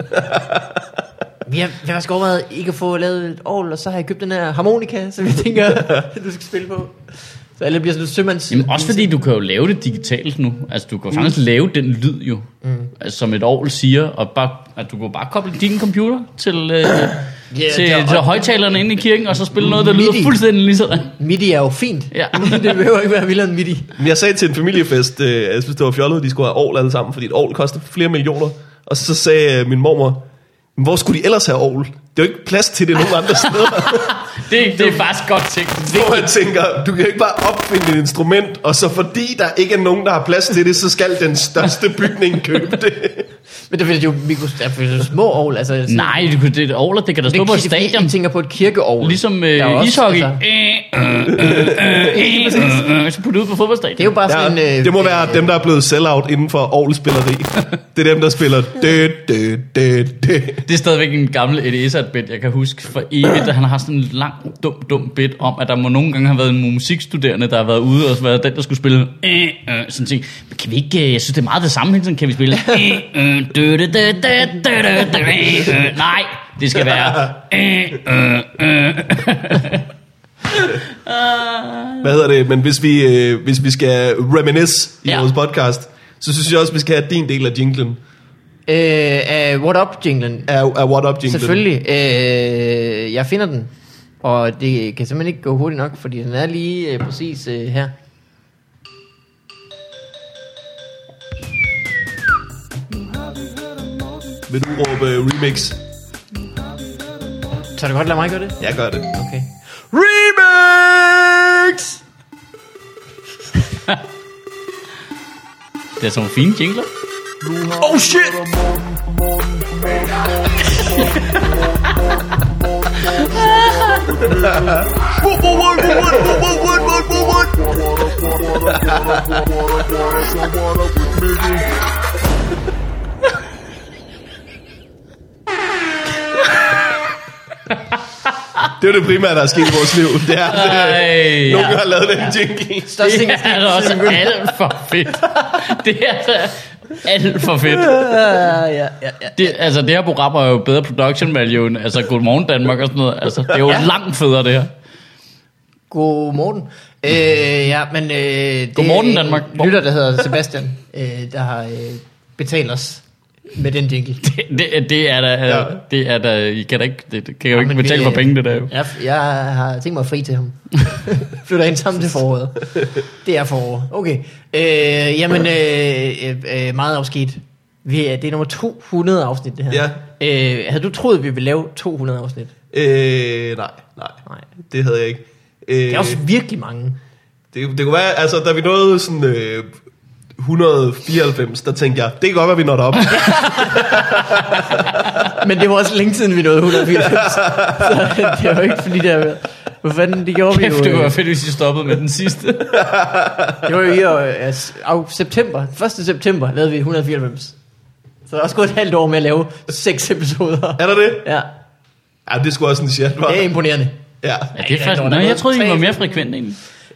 Vi har, vi har faktisk overvejet ikke at få lavet et ovl, og så har jeg købt den her harmonika, som jeg [LAUGHS] tænker, du skal spille på. Så alle bliver sådan lidt sømands. Jamen, også fordi du kan jo lave det digitalt nu. Altså, du kan jo faktisk mm. lave den lyd jo, mm. altså, som et ovl siger, og bare, at du kan jo bare koble din computer til, øh, yeah, til, det er- til højtalerne inde i kirken, og så spille noget, der lyder MIDI. fuldstændig ligesom. Midi er jo fint. Ja. [LAUGHS] det behøver ikke være vildere end midi. Men Jeg sagde til en familiefest, øh, jeg synes det var fjollet, at de skulle have ovl alle sammen, fordi et ovl koster flere millioner. Og så sagde øh, min mormor, "Men hvor skulle de ellers have ovl? Det er jo ikke plads til det nogen andre steder. Det, det er faktisk godt tænkt. Hvor jeg tænker, du kan jo ikke bare opfinde et instrument, og så fordi der ikke er nogen, der har plads til det, så skal den største bygning købe det. Men der findes jo, mikros, der findes jo små ovl. Altså, sådan- Nej, det, kunne- det er et ovler, det kan da Det stå er på et ikke- fordi stadion. Jeg tænker på et kirkeovl. Ligesom Der er øh, også, ishockey. altså- Øh, øh, øh, øh, Så putte ud på fodboldstadion. Det er jo bare sådan en... Ja, Øh, det må være dem, der er blevet sell-out inden for ovlspilleri. Det er dem, der spiller dø, dø, dø, dø. Det er stadigvæk en gammel Eddie Izzard bit, jeg kan huske for evigt, at han har sådan en lang, dum, dum bit om, at der må nogle gange have været en musikstuderende, der har været ude og så været den, der skulle spille øh, øh, sådan ting. Men kan vi ikke, øh, jeg synes det er meget det samme hele tiden, kan vi spille øh, øh, dø, dø, dø, dø, dø, dø, dø, øh, øh. Nej, det skal være øh, øh, øh. Hvad hedder det? Men hvis vi, øh, hvis vi skal reminisce i Ja. vores podcast, så synes jeg også, vi skal have din del af jinglen. øh, af What Up jinglen. af, af What Up Jinglen. Selvfølgelig. Øh, jeg finder den. Og det kan simpelthen ikke gå hurtigt nok, fordi den er lige øh, præcis øh, her. Vil du råbe øh, remix? Så du godt lade mig gøre det? Jeg gør det. Okay. Remix! Det er sådan nogle fine jingler. Oh shit! Det er jo det primære, der er sket i vores liv. Det er, at øh, Ej, nogen har lavet den jingle. Største Det er da også alt for fedt. Det er da alt for fedt. ja, ja, ja. Det, altså, det her program er jo bedre production value end altså, Godmorgen Danmark og sådan noget. Altså, det er jo langt federe, det her. Godmorgen. Øh, ja, men... Øh, det Godmorgen, er en Danmark. lytter, der hedder Sebastian, øh, der har øh, betalt os med den jingle. Det, det, det er da... Ja. Ja. Det er da... I kan da ikke, det, det kan jo Ja, ikke men betale vi- for penge, det der jo. Jeg, jeg har tænkt mig fri til [LAUGHS] ham. Flytter ind sammen til foråret. Det er foråret. Okay. Øh, jamen, øh, øh, øh, meget afskedt. Vi er, det er nummer 200 afsnit, det her. Ja. Øh, havde du troet, vi ville lave 200 afsnit? Øh, nej, nej, Nej. det havde jeg ikke. Øh, Det er også virkelig mange. det, det kunne være, altså da vi nåede sådan øh, 194, der tænkte jeg, det kan godt være, vi når op. Men det var også længe siden, vi nåede 180. Så det var ikke fordi, det er... Hvad fanden, det gjorde vi jo... Kæft, det øh, var fedt, hvis I stoppede med den sidste. Det var jo i øh, altså, af september. 1. september lavede vi 194. Så der er også gået et halvt år med at lave seks episoder. er der det? Ja, Ja, det skulle også en chat, var. det er imponerende. Ja. Ja, det er der er faktisk... noget, Nå, der er jeg troede, I tre- var mere frekvent egentlig.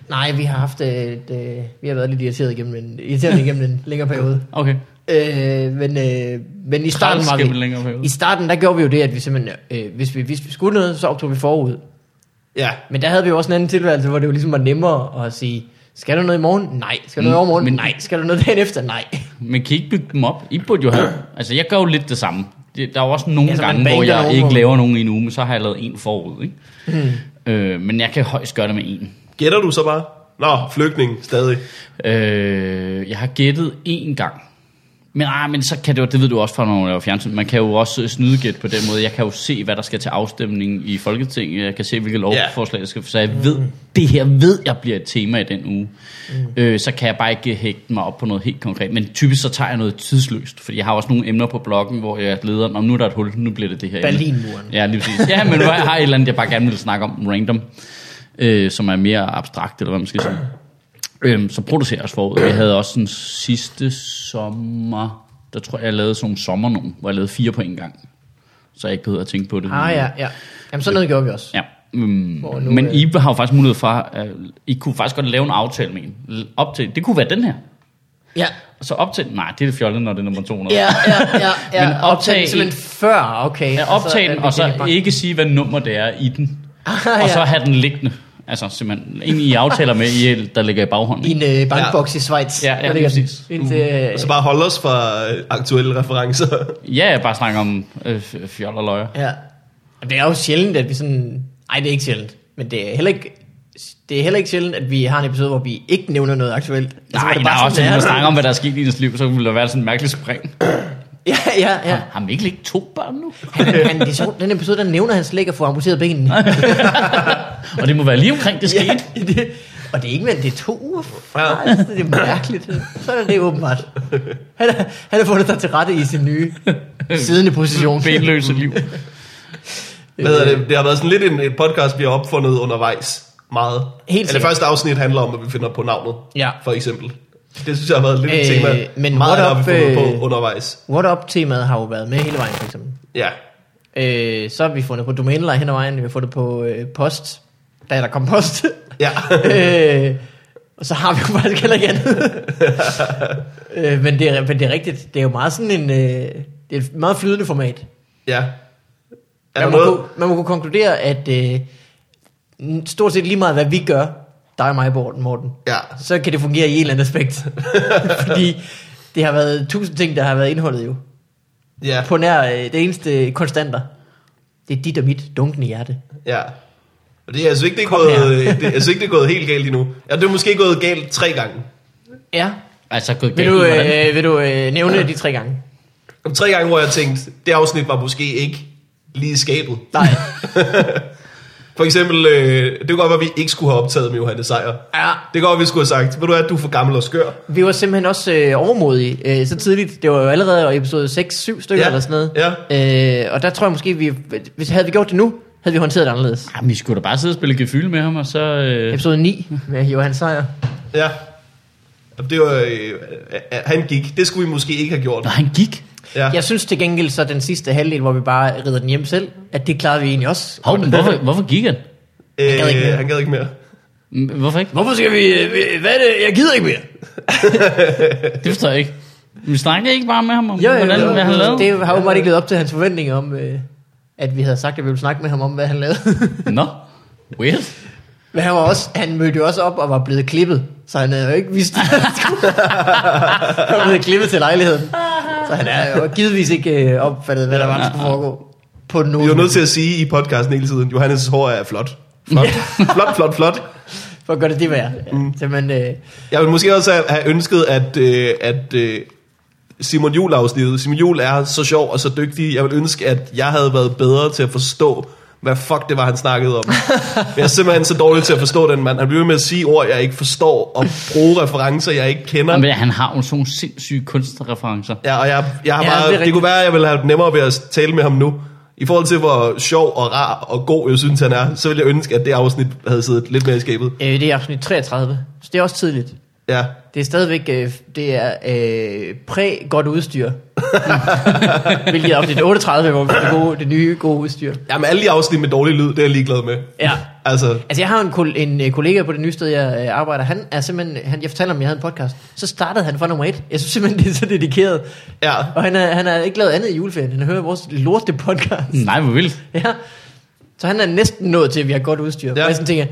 Nej, vi har haft et, øh, vi har været lidt irriteret igennem en, irriteret igennem en længere periode. Okay. Øh, men, øh, men i starten Træls var gennem vi, en længere periode. i starten der gjorde vi jo det, at vi simpelthen, øh, hvis, vi, hvis vi skulle noget, så optog vi forud. Ja. Men der havde vi jo også en anden tilværelse, hvor det jo ligesom var nemmere at sige, skal du noget i morgen? Nej. Skal du noget Mm, i overmorgen? men- Nej. Skal du noget dagen efter? Nej. Men kan I ikke bygge dem op? I burde jo have... Altså, jeg gør jo lidt det samme. Det, der er jo også nogle Ja, så man gange, hvor banker jeg nogen ikke på. laver nogen i en uge, men så har jeg lavet en forud, ikke? Mm. Øh, men jeg kan højst gøre det med en. Gætter du så bare? Nå, flygtning stadig. Øh, jeg har gættet én gang. Men, ah, men så kan det jo, det ved du også fra, når du laver fjernsyn, man kan jo også snyde gæt på den måde. Jeg kan jo se, hvad der skal til afstemning i Folketinget. Jeg kan se, hvilke lovforslag der skal, så jeg ved, det her ved jeg bliver et tema i den uge. Mm. Øh, så kan jeg bare ikke hægte mig op på noget helt konkret. Men typisk så tager jeg noget tidsløst, fordi jeg har også nogle emner på bloggen, hvor jeg leder, om nu er der et hul, nu bliver det det her emne." Berlinmuren. Ja, lige præcis. Ja, men nu har jeg et eller andet, jeg bare gerne vil snakke om random, øh, som er mere abstrakt, eller hvad man skal sige. Øhm, så producerer jeg også forud. Jeg havde også sådan sidste sommer, der tror jeg, jeg lavede sådan nogle sommernummer, hvor jeg lavede fire på en gang. Så jeg ikke behøvede at tænke på det. Ah ja, ja. Jamen sådan noget gjorde vi også. Ja. Mm. Hvor nu, Men øh, I har jo faktisk mulighed for, at I kunne faktisk godt lave en aftale med en. L- Op til, det kunne være den her. Ja, Og Så op til, nej, det er det fjollet, når det er nummer 200. ja, ja. ja, ja. Men Optag den optag- simpelthen før, okay. [LAUGHS] Ja, optage den, og er det så bare- ikke sige, hvad nummer det er i den. Ah, Og [LAUGHS] ja. så have den liggende. Altså simpelthen, en I aftaler med, I, der ligger i baghånden. I en øh, bankboks i Schweiz. Ja, ja, Der ligger den. præcis. Uh. Indtil, øh, Og så bare holde os fra øh, aktuelle referencer. Ja, jeg bare snakker om øh, f- fjol og løjer. Ja. Det er jo sjældent, at vi sådan... Ej, det er ikke sjældent. Men det er heller ikke... Det er heller ikke sjældent, at vi har en episode, hvor vi ikke nævner noget aktuelt. Nej, altså, hvor det der er også sådan nogen, der snakker om, hvad der er sket i ens liv, så ville der være sådan en mærkelig spring. [LAUGHS] Ja, ja, ja. Har Mikkel ikke to børn nu? Han, han, det er sjovt, den episode, der nævner han slet ikke at få amputeret benene. Ja, Og det må være lige omkring, det skete. det, og det er ikke mere, end det er to uger. Ja. Nej, det er mærkeligt. Sådan er det åbenbart. Han, er- han har fundet sig til rette i sin nye siddende position. Benløse liv. Hvad hedder Øh. det? Det har været sådan lidt en, en podcast, vi har opfundet undervejs. Meget. Helt Eller sikkert. første afsnit handler om, at vi finder på navnet. Ja. For eksempel. Det synes jeg har været lidt øh, et Øh, tema. men meget what har vi up, fundet øh, på undervejs. What Up-temaet har jo været med hele vejen, for eksempel. Ja. Øh, så har vi fundet på domæneleje hen ad vejen, vi har fundet på øh, post, da der kom post. Ja. øh, og så har vi jo faktisk heller ikke andet. øh, men, det er, men det er rigtigt, det er jo meget sådan en, øh, det er et meget flydende format. ja. Er der man, må noget? kunne, man må kunne konkludere, at øh, n- stort set lige meget hvad vi gør, dig og mig, Morten, Morten Ja. så kan det fungere i et eller andet [LAUGHS] aspekt. Fordi det har været tusind ting, der har været indholdet jo. Ja. På nær øh, det eneste konstanter. Det er dit og mit dunkende hjerte. Ja. Og det, jeg, synes ikke, det er Kom gået, øh, her. det, jeg synes ikke, det er gået helt galt endnu. Ja, det er måske gået galt tre gange. Ja. Altså, gået Vil galt. du, hvordan? øh, vil du øh, nævne de tre gange? Om tre gange, hvor jeg tænkte, det afsnit var måske ikke lige i skabet. Nej. [LAUGHS] For eksempel, øh, det kunne godt være, at vi ikke skulle have optaget med Johannes Sejer. Ja. Det kan godt være, vi skulle have sagt, ved du hvad, du er for gammel og skør. Vi var simpelthen også øh, overmodige øh, så tidligt. Det var jo allerede i episode 6-7 stykker Ja, eller sådan noget. Øh, og der tror jeg måske, vi, hvis havde vi gjort det nu, havde vi håndteret det anderledes. Jamen, I skulle da bare sidde og spille gefyl med ham, og så... Øh... Episode 9 med Johan Sejer. Ja. Jamen, Det var, øh, øh, han gik. Det skulle vi måske ikke have gjort. Nå, han gik. Ja. Jeg synes til gengæld så den sidste halvdel, hvor vi bare rider den hjem selv, at det klarede vi egentlig også. Hov, men hvorfor, hvorfor gik han? Øh, gad ikke mere. han gad ikke mere. Mm, Hvorfor ikke? Hvorfor skal vi... øh, Hvad er det? Jeg gider ikke mere. [LAUGHS] Det forstår jeg ikke. Vi snakkede ikke bare med ham om, Jo, jo, hvordan, jo, hvad han lavede? Det har åbenbart ikke levet op til hans forventninger om, øh, at vi havde sagt, at vi ville snakke med ham om, hvad han lavede. [LAUGHS] Nå, weird. Men han, var også, han mødte jo også op og var blevet klippet, så han havde jo ikke vidst, at han skulle. [LAUGHS] han var blevet klippet til lejligheden. Så han er jo givetvis ikke øh, opfattet, hvad der var, der skulle foregå på Vi er jo nogen nødt til at sige i podcasten hele tiden, Johannes' hår er flot. Flot, flot, flot, flot. for at gøre det det værd. Mm. Så man, øh, Jeg ville måske også have- have ønsket, at, øh, at øh, Simon Jul afsnittet. Simon Jul er så sjov og så dygtig. Jeg vil ønske, at jeg havde været bedre til at forstå, hvad fuck det var, han snakkede [LAUGHS] om. Jeg er simpelthen så dårlig til at forstå den mand. Han bliver ved med at sige ord, jeg ikke forstår, og bruge referencer, jeg ikke kender. Men han har jo sådan nogle sindssyge kunstreferencer. Ja, og jeg, jeg har Ja, ja, det er bare, det, det rigtigt. kunne være, at jeg ville have haft nemmere ved at tale med ham nu. I forhold til, hvor sjov og rar og god jeg synes, han er, så ville jeg ønske, at det afsnit havde siddet lidt mere i skabet. øh, det er afsnit 33, så det er også tidligt. Ja. Det er stadigvæk øh, det er, øh, præ-godt udstyr. Hvilket er afsnit 38, hvor vi får det, gode, det nye gode udstyr. Jamen, alle de afsnit med dårlig lyd, det er jeg ligeglad med. Ja. Altså, Altså, jeg har en, kol- en øh, kollega på det nye sted, jeg øh, arbejder. Han er simpelthen, han, jeg fortalte om, jeg havde en podcast. Så startede han fra nummer et. Jeg synes simpelthen, det er så dedikeret. ja. Og han har han er ikke lavet andet i juleferien. Han hører vores lorte podcast. Nej, hvor vildt. Ja. Så han er næsten nået til, at vi har godt udstyr. Ja. Ja. Og jeg sådan tænker,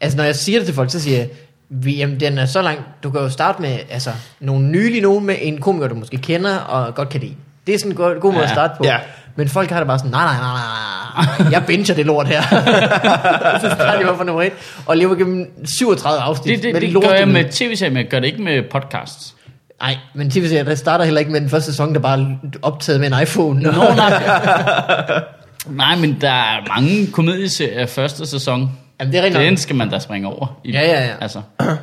altså når jeg siger det til folk, så siger jeg, vi, jamen, den er så langt, du kan jo starte med altså, nogle nylige nogen med en komiker, du måske kender og godt kan lide. Det er sådan en god, god måde Ja. at starte på. Ja. Men folk har det bare sådan, nej, nej, nej, nej, nej, jeg binger det lort her. [LAUGHS] så starter jeg bare fra nummer et, og lever gennem 37 afsnit. Det, det, med det, det lortelyd. gør jeg med tv-serier, men jeg gør det ikke med podcasts. Nej, men tv-serier, der starter heller ikke med den første sæson, der bare er optaget med en iPhone. Nå, nej. nej, men der er mange komedieserier første sæson. Jamen, det er Den rigtigt. skal man da springe over. I, Ja, ja, ja. Altså. Ja,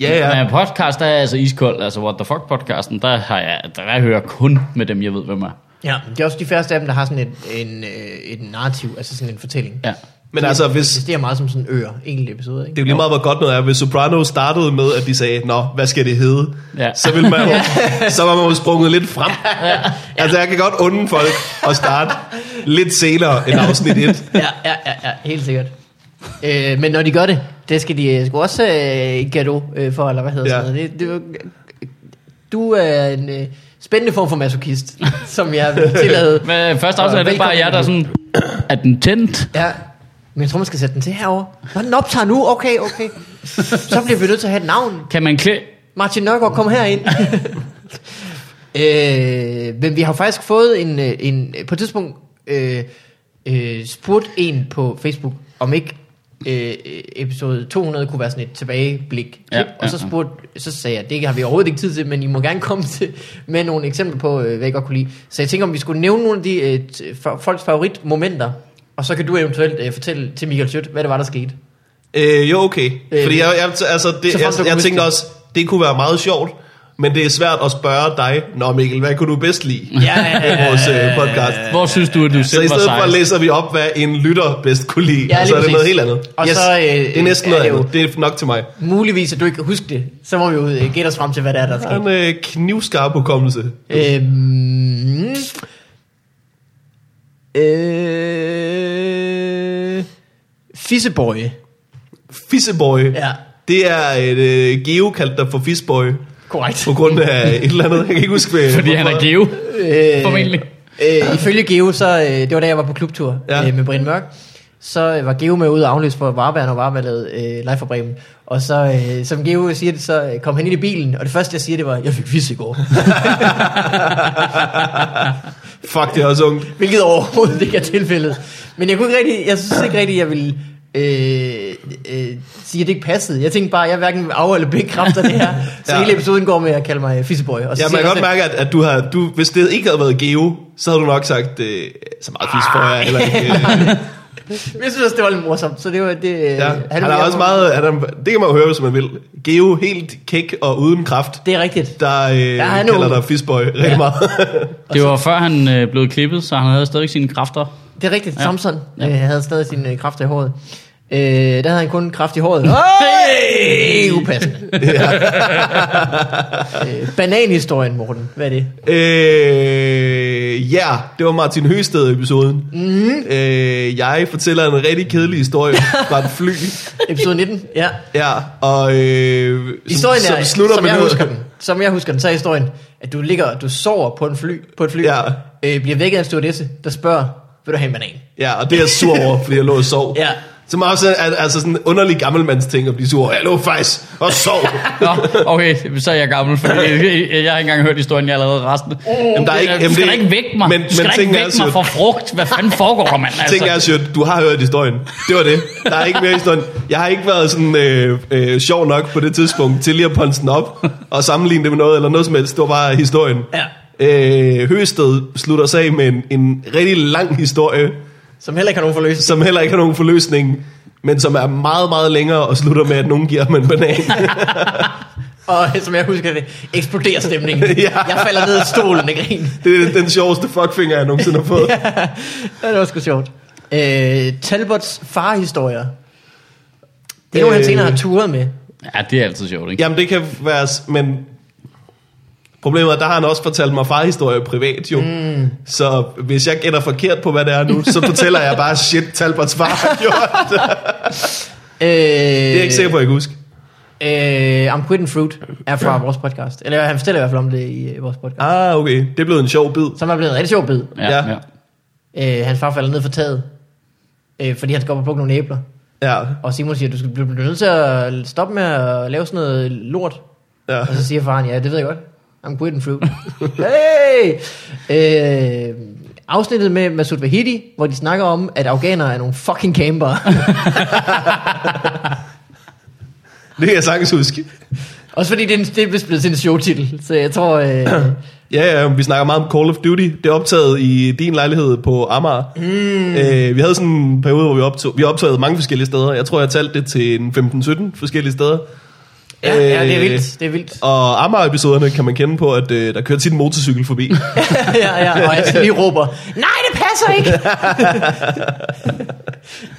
ja. Men podcast, der er jeg altså iskold. Altså, what the fuck podcasten, der, har jeg, der jeg hører kun med dem, jeg ved, hvem er. Ja, det er også de færreste af dem, der har sådan et, en, øh, et narrativ, altså sådan en fortælling. Ja. Men altså, hvis, Det er meget som sådan øer, enkelte episode, Det ikke? er jo lige meget, hvor godt noget er. Hvis Soprano startede med, at de sagde, nå, hvad skal det hedde? Ja. Så, ville man [LAUGHS] jo, så var man jo sprunget lidt frem. Altså, jeg kan godt unde folk at starte lidt senere end afsnit 1. Ja, ja, ja, ja helt sikkert. øh, men når de gør det, det skal de øh, sgu også øh, gado øh, for, eller hvad hedder Ja. ja. sådan noget. Det, det, er jo- du er en øh, spændende form for masochist, [LAUGHS] som jeg vil tillade. [LAUGHS] Men øh, første afsnit er det bare jer, der er sådan... Er den tændt? Ja, men jeg tror, man skal sætte den til herover. Nå, den optager nu, okay, okay. Så bliver vi nødt til at have et navn. Kan man klæde... Martin Nørgaard, [LAUGHS] kom herind. [LAUGHS] øh, men vi har jo faktisk fået en, øh, en på et tidspunkt øh, øh, spurgt en på Facebook, om ikke øh, episode 200 kunne være sådan et tilbageblik. Ja, Ja, og så ja, ja. spurgte, så sagde jeg, det har vi overhovedet ikke tid til, men I må gerne komme til, med nogle eksempler på, øh, hvad I godt kunne lide. Så jeg tænker, om vi skulle nævne nogle af de øh, t- for, folks favoritmomenter, og så kan du eventuelt øh, fortælle til Michael Schødt, hvad det var, der skete. Øh, jo, okay. Fordi jeg, jeg, altså, det, Så jeg, folk, der kunne jeg huske tænkte det. også, det kunne være meget sjovt, men det er svært at spørge dig, Nå Mikkel, hvad kunne du bedst lide Ja, ja, ja, i vores øh, podcast? Hvor synes du, at du Så selv i var stedet for sejst? læser vi op, hvad en lytter bedst kunne lide, Ja, og så lige er det noget præcis. helt andet. Og så, øh, det er næsten er noget det jo- andet. Det er nok til mig. Muligvis, at du ikke kan huske det, så må vi jo øh, gætte os frem til, hvad det er, der er Der sket. er en øh, knivskarp hukommelse. Øhm, øh, Fisseboy. Fisseboy. Ja, Det er et øh, Geo kaldt dig for Fissboy, korrekt. på grund af et eller andet, jeg kan ikke huske. [LAUGHS] øh, Hvad, Fordi han [LAUGHS] er geo, formentlig. Øh, ifølge Geo, så øh, det var da jeg var på klubtur Ja. ja. øh, med Brian Mørk, så øh, var Geo med ud og afløse for Varberg, når Varberg lavede øh, live for Bremen. Og så, øh, som Geo siger det, så øh, kom han ind i bilen, og det første jeg siger, det var, jeg fik fisse i går. Fuck, det er også ungt. Hvilket overhovedet ikke er tilfældet. Men jeg kunne ikke rigtig, jeg synes ikke rigtig, jeg ville øh, øh, sige, at det ikke passede. Jeg tænkte bare, jeg hverken af eller bekræfter det [LAUGHS] her. Så Ja. ja. hele episoden går med at kalde mig Fisseboy. Og så Ja, siger man kan jeg godt også, mærke, at, at du har, du, hvis det ikke havde været Geo, så havde du nok sagt, øh, så meget Fissboy er heller [LAUGHS] ikke. Øh, at- Jeg synes også, det var lidt morsomt. Så det var det... øh, ja. Han er også meget, han er, det kan man jo høre, hvis man vil. Geo helt kæk og uden kraft, Det er rigtigt. der øh, Ja, han er kalder ung. dig Fissboy rigtig ja. meget. Det var før han øh, blev klippet, så han havde stadig sine kræfter. [LAUGHS] Det er rigtigt. Ja. Ja. Samson Ja. ja. Øh, havde stadig sin øh, kraft i håret. Øh, der havde han kun kraft [LAUGHS] i håret. Hey! Upassende. øh, bananhistorien, Morten. Hvad er det? Øh, ja, det var Martin Høsted-episoden. Mhm. Mm. Øh, jeg fortæller en rigtig kedelig historie fra et fly. Episode 19? Ja. Ja, og øh, som- Historien er, som, slutter som med jeg noget- husker den, som jeg husker den, så er historien, at du ligger, du sover på en fly, på et fly, Ja. øh, bliver vækket af en stewardesse, der spørger, vil du have en banan? Ja, og det er jeg sur over, fordi jeg lå og sov. Ja. Som er også er, altså sådan en underlig gammelmandsting at blive sur over. Jeg lå faktisk og sov. Nå, okay, så er jeg gammel, for jeg, jeg har ikke engang hørt historien, jeg har allerede resten. Jamen, der er ikke- du jamen, skal det- da ikke vække mig. men- Men, du skal men da ikke tingene er vække mig sødt. for frugt. Hvad fanden foregår der, mand? Ting er, Altså, Sjøt, du har hørt historien. Det var det. Der er ikke mere historien. Jeg har ikke været sådan øh, øh, sjov nok på det tidspunkt til lige at ponse den op og sammenligne det med noget eller noget som helst. Det var bare historien. Ja. Øh, Høsted slutter sig af med en, en rigtig lang historie, Som heller ikke har nogen forløst. som heller ikke har nogen forløsning, men som er meget, meget længere og slutter med, at nogen giver mig en banan. [LAUGHS] Og øh, som jeg husker det, eksploderer stemningen. [LAUGHS] Ja. Jeg falder ned af stolen af [LAUGHS] grin. Det er den sjoveste fuckfinger, jeg nogensinde har fået. Ja, det var sgu sjovt. Øh, Talbots farhistorier. Det er nogle, han Øh. senere har turet med. Øh, Ja, det er altid sjovt, ikke? Jamen, det kan være... s- Men problemet er, der har han også fortalt mig farhistorier privat, jo. Mm. Så hvis jeg gætter forkert på, hvad det er nu, så fortæller jeg bare, shit, Talbots far har gjort. det. Øh, Det er jeg ikke sikker på, at jeg kan huske. Øh, I'm Quitting Fruit er fra vores podcast. Eller han fortæller i hvert fald om det i øh, vores podcast. Ah, okay. Det er blevet en sjov bid. Som er blevet en rigtig sjov bid. Ja. Ja, ja. Øh, hans far falder ned for taget, øh, fordi han skal op og plukke nogle æbler. Ja, Og Simon siger, du skal blive nødt til at stoppe med at lave sådan noget lort. ja. Og så siger faren, ja, det ved jeg godt. I'm quitting fruit. hey! Øh, afsnittet med Masoud Vahidi, hvor de snakker om, at afghanere er nogle fucking campere. Det kan jeg sagtens huske. [LAUGHS] Også fordi det er, en, det er blevet til en showtitel, så jeg tror... Øh, Ja, ja, vi snakker meget om Call of Duty. Det er optaget i din lejlighed på Amager. Mm. Øh, vi havde sådan en periode, hvor vi optog, vi optagede mange forskellige steder. Jeg tror, jeg talte det til en 15-17 forskellige steder. ja, ja, det er vildt, det er vildt. Og Amager-episoderne kan man kende på, at øh, der kørte tit en motorcykel forbi. ja, ja, og jeg lige råber, nej, det passer ikke!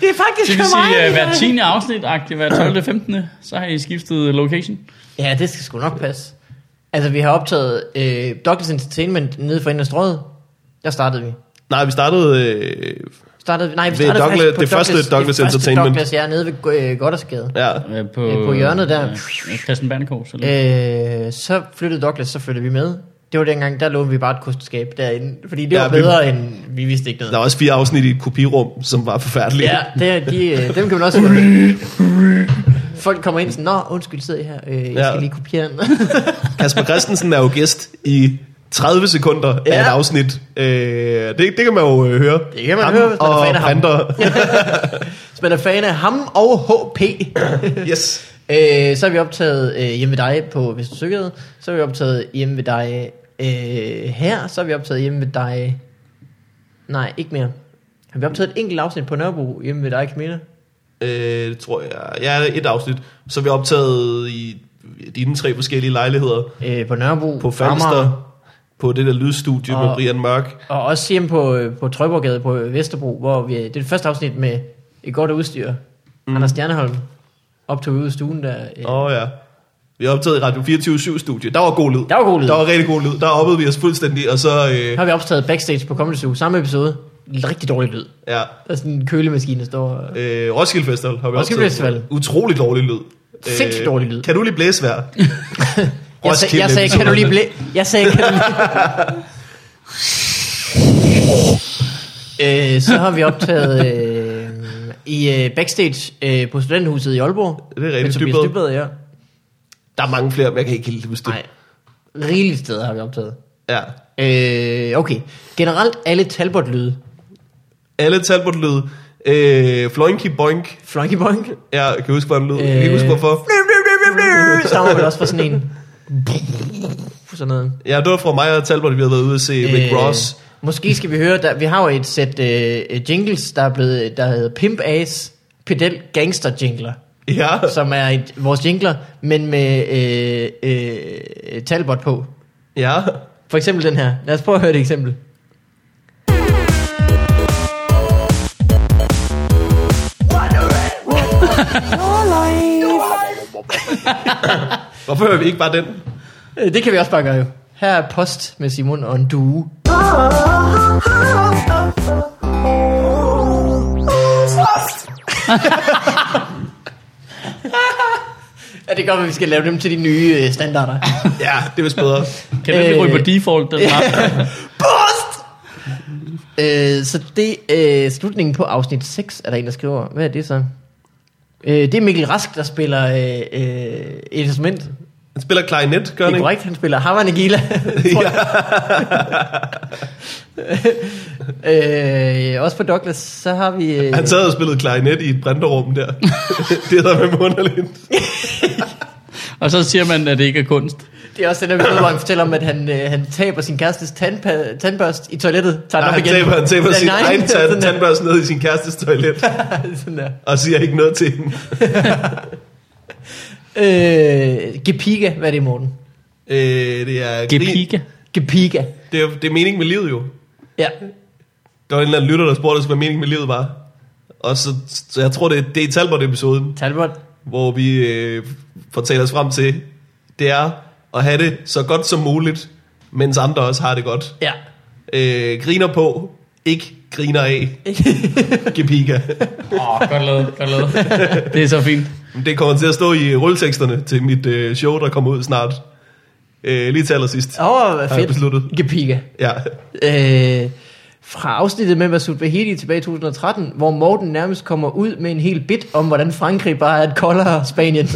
det er faktisk Det vil for mig! sige, at det her." hver 10. afsnit, agtigt, hver 12. 15. så har I skiftet location. Ja, det skal sgu nok passe. Altså, vi har optaget øh, Douglas Entertainment nede for Indre Strøget. Der startede vi. Nej, vi startede... Øh, Startede, vi- nej, vi Ved startede Douglas- faktisk på det første Douglas, Douglas det første Entertainment. Douglas, ja, nede ved øh, Goddersgade. ja, Øh, På, Øh, på hjørnet der. Øh, Christian Bernekov. Så lige. Mm. Øh, så flyttede Douglas, så flyttede vi med. Det var dengang, der lånte vi bare et kosteskab derinde. Fordi det Ja, var vi- bedre, end vi vidste ikke der noget. var også fire afsnit i et kopirum, som var forfærdelige. Ja, det, er- de, øh, dem kan man [LAUGHS] også høre. Folk kommer ind sådan, Nå, undskyld, sidder I her? Øh, jeg Ja. skal lige kopiere [LAUGHS] den. [LAUGHS] Kasper Christensen er jo gæst i 30 sekunder ja. Ja. af et afsnit. Øh, det, det kan man jo øh, høre. Det kan man høre, hvis man er og fan af ham. [LAUGHS] Printer. så man er fan af ham og [LAUGHS] HP. yes. Øh, så har vi optaget øh, hjemme ved dig på Vester Søgade. Så har vi optaget hjemme ved dig øh, her. Så har vi optaget hjemme ved dig... Nej, ikke mere. Har vi optaget et enkelt afsnit på Nørrebro hjemme ved dig, Camilla? Øh, det tror jeg. Ja, et afsnit. Så er vi optaget i dine tre forskellige lejligheder. Øh, på Nørrebro. På Falster. Amager, På det der lydstudie med Og- Brian Mørk. Og også hjemme på, øh, på Trøjborggade på Vesterbro, hvor vi, det er det første afsnit med et godt udstyr. Mm. Anders Stjerneholm optog ude i stuen der. Øh, Åh oh, ja. Vi optagede i Radio 24 studie. Der var god lyd. Der var god lyd. Der var rigtig god lyd. Der oppede vi os fuldstændig, og så... Øh, Her har vi optaget backstage på Comedy Zoo, samme episode. Rigtig dårlig lyd. ja. Der er sådan en kølemaskine, der står... og- Øh, Roskilde Festival har vi Roskilde optaget. Festival. Utrolig dårlig lyd. Sindssygt dårlig lyd. Kan du lige blæse vejr? Jeg, sag, jeg sagde, kan du lige blæ... Jeg sagde, kan du lige... [LAUGHS] øh, så har vi optaget øh, i øh, backstage øh, på Studenterhuset i Aalborg. Det er rigtigt, Med Tobias Dybvad. Dybvad, ja. Der er mange flere, men jeg kan ikke helt huske det. Nej, rigeligt steder har vi optaget. Ja. Øh, okay, generelt alle Talbot-lyde. Alle Talbot lyd. Øh, Floinky Boink. Flunky [LAUGHS] Bonk. Ja, kan du huske, hvordan den lød? Øh, kan ikke huske, hvorfor. Stammer vel også fra sådan en... Sådan noget. Ja, det var fra mig og Talbot, vi havde været ude at se øh, Rick Ross. Måske skal vi høre, der, vi har jo et sæt øh, jingles, der er blevet, der hedder Pimp Ass, Pedel Gangster [LAUGHS] Jingler, Ja, som er et, vores jingler, men med øh, øh, Talbot på. ja. For eksempel den her. Lad os prøve at høre et eksempel. [LAUGHS] Hvorfor hører vi ikke bare den? Øh, Det kan vi også bare gøre jo. Her er Post med Simon og en due. Ja, det gør, at vi skal lave dem til de nye [LAUGHS] øh, standarder. Ja, det er vist bedre. Kan du ikke øh, ryge på default? Den her? Post! Øh, så det øh, slutningen på afsnit 6, er der en, der skriver. Hvad er det så? Øh, det er Mikkel Rask, der spiller øh, øh, et instrument. Det Han spiller klarinet, gør han er ikke? korrekt, han spiller [LAUGHS] Havanagila. [LAUGHS] øh, også på Douglas, så har vi... Øh, Han sad og spillede klarinet i et brinterum der. [LAUGHS] det er da med underligt. [LAUGHS] Og så siger man, at det ikke er kunst. det er også den der episode, hvor han fortæller om, at han, øh, han taber sin kærestes tandpa- tandbørst i toilettet. Tager Nej, den han op igen. taber, han taber Sådan, sin nej, [LAUGHS] egen tand, sådan der. tandbørs ned i sin kærestes toilet, [LAUGHS] Sådan der. og siger ikke noget til hende. Øh, Gepiga, hvad er det, Morten? Øh, det er... Gepika. Gepiga. Det er, det er mening med livet jo. Ja. Der var en eller anden lytter, der spurgte os, hvad meningen med livet var. Og så, så jeg tror, det er, det er i Talbot-episoden. Talbot. hvor vi øh, får talt os frem til, det er at have det så godt som muligt, mens andre også har det godt. Ja. Øh, griner på, ikke griner af. Gepiga. Åh, oh, godt lavet, godt lavet. Det er så fint. Det kommer til at stå i rulleteksterne til mit øh, show, der kommer ud snart. Øh, lige til allersidst. Åh, oh, Har jeg fedt. besluttet. Gepiga. Ja. Øh, fra afsnittet med Masoud Bahidi tilbage i 2013, hvor Morten nærmest kommer ud med en hel bit om, hvordan Frankrig bare er et koldere [LAUGHS] Spanien.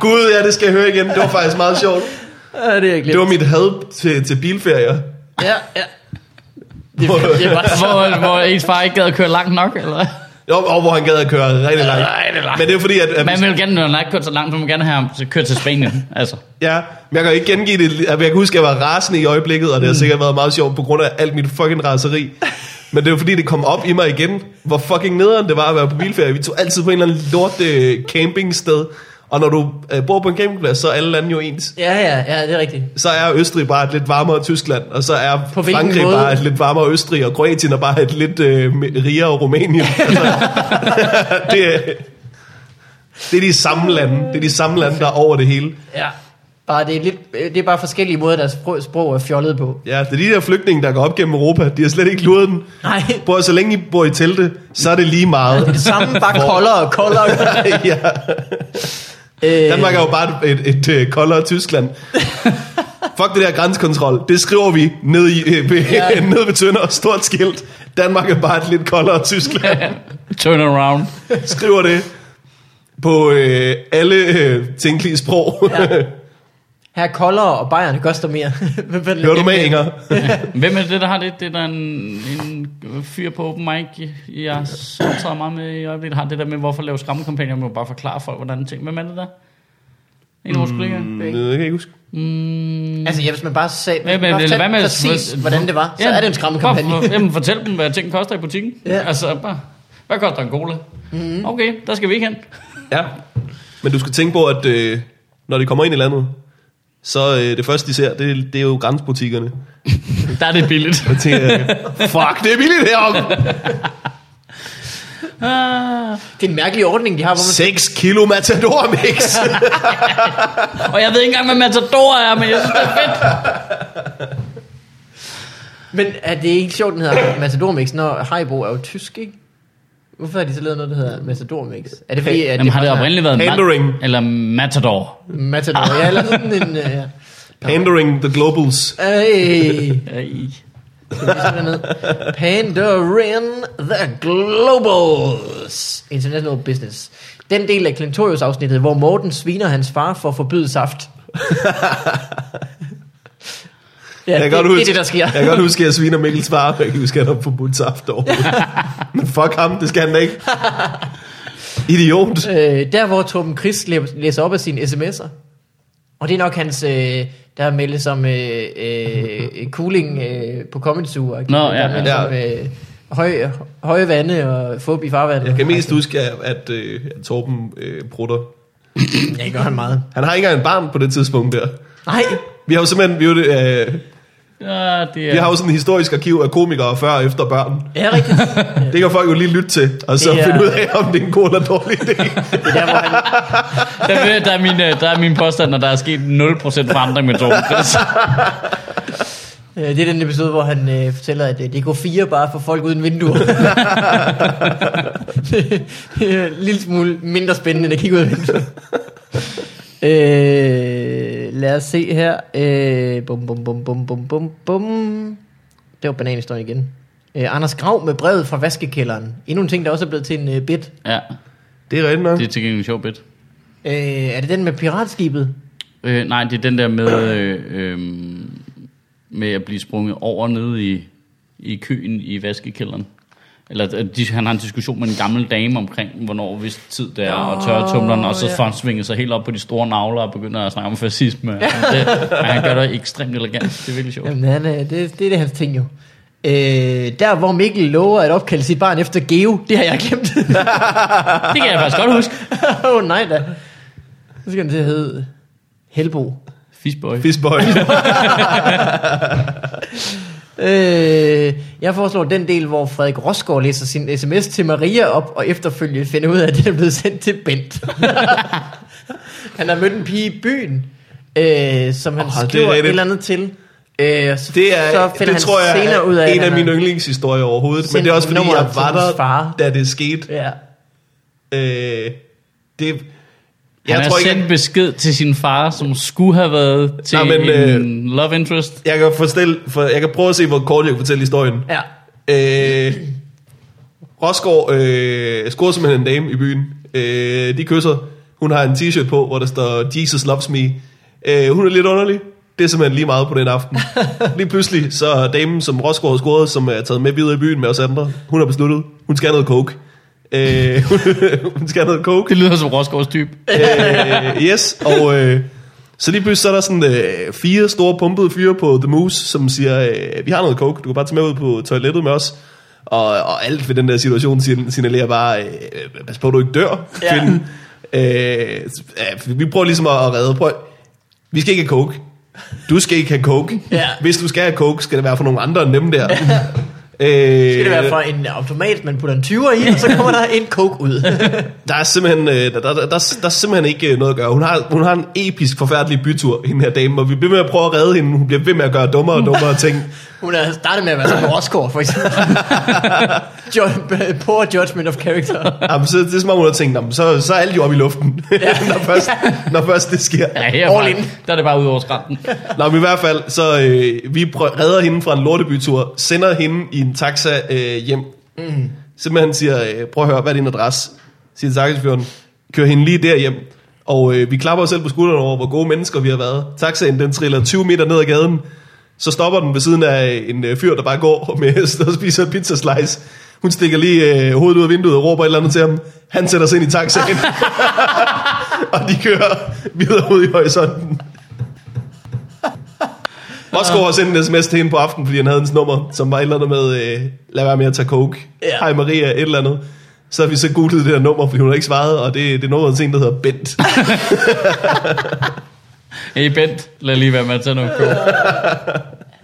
Gud, ja, det skal jeg høre igen. Det var faktisk meget sjovt. ja, det er jeg glemt. Det var mit had til, til bilferier. Ja, ja. Det, det var så... Hvor, hvor ens far ikke gad at køre langt nok, eller hvad? Jo, og hvor han gad at køre rigtig langt. Nej, det er Øh, langt. Men det er fordi, at... at Man vil jo gerne, når han ikke kørt så langt, så vil man gerne have ham så kørt til Spanien. Altså, Ja, men jeg kan ikke gengive det. Altså, Jeg kan huske, at jeg var rasende i øjeblikket, og det har Mm. sikkert været meget sjovt på grund af alt mit fucking raseri. Men det var fordi, det kom op i mig igen, hvor fucking nederen det var at være på bilferie. Vi tog altid på en eller anden lort øh, campingsted, og når du øh, bor på en campingplads, så er alle lande jo ens. Ja, ja, ja, det er rigtigt. Så er Østrig bare et lidt varmere Tyskland, og så er På hvilken Frankrig måde? bare et lidt varmere Østrig, og Kroatien er bare et lidt øh, rigere Rumænien. [LAUGHS] Altså, [LAUGHS] det, er- det er de samme lande, det er de samme lande, der er over det hele. Ja. Bare det, er lidt, øh, det er bare forskellige måder, deres sprog, sprog er fjollet på. Ja, det er de der flygtninge, der går op gennem Europa. De har slet ikke luret den. [LAUGHS] Nej, Bro, så længe I bor i telte, så er det lige meget. det samme bare koldere og [LAUGHS] koldere. ja. Øh, Danmark er jo bare et, et, et øh, koldere [LAUGHS] Tyskland. Fuck det der grænsekontrol. Det skriver vi ned, i, øh, ved, Ja. ja. [LAUGHS] ned ved Tønder og stort skilt. Danmark er bare et lidt koldere Tyskland. turn around. Skriver det på øh, alle øh, tænkelige sprog. Ja. her er koldere, og bajerne koster mere. Men- men- [LAUGHS] Hører du med, Inger? Hvem er det, der har det? Det er der en, en fyr på open mic, jeg tager meget med i øjeblikket, har det der med, hvorfor lave skræmmekampagner, man må bare forklare folk, hvordan ting. Hvem er det der? En af vores kollegaer? Jeg kan jeg ikke huske. Mm. Altså, ja, hvis man bare sagde, Ja, hvis man men, bare eller hvad fortalte med, præcis, hvordan det var, så er det en skræmmekampagne. Bare, for- jamen, fortæl dem, hvad ting koster i butikken. Ja. Ja. Altså, bare, hvad koster en cola? Mm. Okay, der skal vi ikke hen. Ja. Men du skal tænke på, at øh, når de kommer ind i landet, så øh, det første, de ser, det, det er jo grænsbutikkerne. Der er det billigt. Og tænker, [LAUGHS] jeg, fuck, det er billigt heroppe. [LAUGHS] Ah. Det er en mærkelig ordning, de har, hvor man 6 kilo matador mix. Og jeg ved ikke engang, hvad Matador er, men jeg synes, det er fedt. Men er det ikke sjovt, den hedder Matador Mix, når Haribo er jo tysk, ikke? Hvorfor har de så lavet noget, der hedder Matador Mix? Er det fordi, at Jamen, har det bare oprindeligt været Pandering. Ma- eller Matador? er Matador, ja, eller sådan en... øh, Ja. Pandering the globals. Hey, Ej. Pandarin the Globals International Business. Den del af Clintorius afsnittet, hvor Morten sviner hans far for at forbyde [LAUGHS] saft. ja, Jeg kan godt det, det er huske- det, der sker. Jeg kan godt huske, at jeg sviner Mikkels far, men jeg kan huske, at han har forbudt saft overhovedet. [LAUGHS] Men fuck ham, det skal han da ikke. Idiot. Øh, der hvor Torben Chris læser op af sine sms'er. Og det er nok hans, øh, der meldes som øh, øh, cooling øh, på Comedy Zoo. og- Nå, ja, der er meldt ja. Som, øh, høj, høje vande og fup i farvandet. Jeg kan mest huske, at, at, øh, at Torben øh, prutter. Ja, det gør han meget. Han har ikke engang en barn på det tidspunkt der. Nej, Vi har jo simpelthen, vi, er jo, det, øh, Ja, det er... vi har jo sådan en historisk arkiv af komikere før og efter børn. det er rigtigt. Det kan folk jo lige lytte til, og så Det er- finde ud af, om det er en god eller dårlig [LAUGHS] idé. Det er der, hvor han, Der, ved jeg, der, er min, øh, der er min påstand, at der er sket 0% forandring med Torben Chris. øh, det er den episode, hvor han øh, fortæller, at øh, det går fire bare for folk uden vinduer. det er en lille smule mindre spændende, end at kigge ud af vinduet. Øh, lad os se her. Øh, bum, bum, bum, bum, bum, bum, bum. Det var bananhistorien igen. Øh, Anders Grav med brevet fra vaskekælderen. Endnu en ting, der også er blevet til en øh, bit. Ja, Det er rigtigt nok. det er til gengæld en sjov bit. Øh, er det den med piratskibet? Øh, nej, det er den der med, øh, øh, med at blive sprunget over nede i, i køen i vaskekælderen. Eller at de, han har en diskussion med en gammel dame omkring, hvornår hvis tid det er, og tørre tumleren, og så ja. får han svinget sig helt op på de store navler og begynder at snakke om fascisme. Og det, [LAUGHS] men han gør det ekstremt elegant. Det er virkelig sjovt. Jamen, han, øh, det, det er det, hans ting jo. Øh, der, hvor Mikkel lover at opkalde sit barn efter Geo, det har jeg glemt. Det [LAUGHS] kan jeg faktisk godt huske. Åh, oh, nej da. Så skal han til at hedde Helbo. Fishboy. Fistboy. [LAUGHS] Øh, jeg foreslår den del, hvor Frederik Rosgaard læser sin sms til Maria op, og efterfølgende finder ud af, at den er blevet sendt til [LAUGHS] Bent. han har mødt en pige i byen, øh, som han Åh, oh, det er skriver et rigtigt. eller andet til. Øh, så, Det er, så finder det han tror jeg senere er ud af, at en af han mine har- yndlingshistorier overhovedet. Men sendt det er også fordi, nummeret jeg til var hans der, far. da det skete. Ja. Øh, det, Han jeg har tror ikke, sendt jeg, besked til sin far, som skulle have været til Nå, Nej, men, øh, men, en love interest. jeg, kan forstille, for, jeg kan prøve at se, hvor kort jeg kan fortælle historien. ja. Øh, Rosgaard øh, scorer simpelthen en dame i byen. Øh, de kysser. Hun har en t-shirt på, hvor der står, Jesus loves me. Øh, hun er lidt underlig. Det er simpelthen lige meget på den aften. Lige pludselig, så er damen, som Rosgaard har scoret, som er taget med videre i byen med os andre, hun har besluttet, hun skal have noget coke. Øh, [LAUGHS] hun skal have noget coke. Det lyder som Rosgaards type. øh, yes, og øh, så lige pludselig så er der sådan øh, fire store pumpede fyre på The Moose, som siger, øh, vi har noget coke, du kan bare tage med ud på toilettet med os. Og, og alt ved den der situation sign- signalerer bare, øh, pas på, du ikke dør, Ja. kvinden. Øh, ja, vi prøver ligesom at at redde, prøv, vi skal ikke have coke. Du skal ikke have coke. Ja. Hvis du skal have coke, skal det være for nogle andre end [LAUGHS] dem der. Øh, Skal det være for en automat, man putter en 20'er i, og så kommer der en coke [LAUGHS] ud. Der er simpelthen, øh, der, der, der, der er simpelthen ikke øh, noget at gøre. Hun har, hun har en episk, forfærdelig bytur, hende her dame, og vi bliver ved med at prøve at redde hende. Hun bliver ved med at gøre dummere og dummere ting. Hun har startet med at være sådan en Rosgaard, [LAUGHS] for eksempel. Jo- Poor judgment of character. Jamen, så, det er som om, hun har tænkt, "Nå, men så, så er alt jo oppe i luften, [LAUGHS] når, først, når først det sker. Ja, her er bare, All in. der er det bare ud over skrænten. Nå, men i hvert fald, så øh, vi prø- redder hende fra en lortebytur, sender hende i en taxa øh, hjem. Mm. Simpelthen siger, øh, prøv at høre, hvad er din adresse? Siger taxachaufføren, kører hende lige derhjem. Og øh, vi klapper os selv på skuldrene over, hvor gode mennesker vi har været. Taxaen, den triller 20 meter ned ad gaden. Så stopper den ved siden af en øh, fyr, der bare går [LAUGHS] med hest og spiser en pizza slice. Hun stikker lige øh, hovedet ud af vinduet og råber et eller andet til ham. Han sætter sig ind i taxaen. [LAUGHS] og de kører videre ud i horisonten. Roscoe har sendt en sms til hende på aftenen, fordi han havde hendes nummer, som var et eller andet med, øh, lad være med at tage coke. Ja. Hej Maria, et eller andet. Så har vi så googlet det her nummer, fordi hun har ikke svaret, og det, det er nummeret til en, der hedder Bent. Hey Bent, lad lige være med at tage noget coke.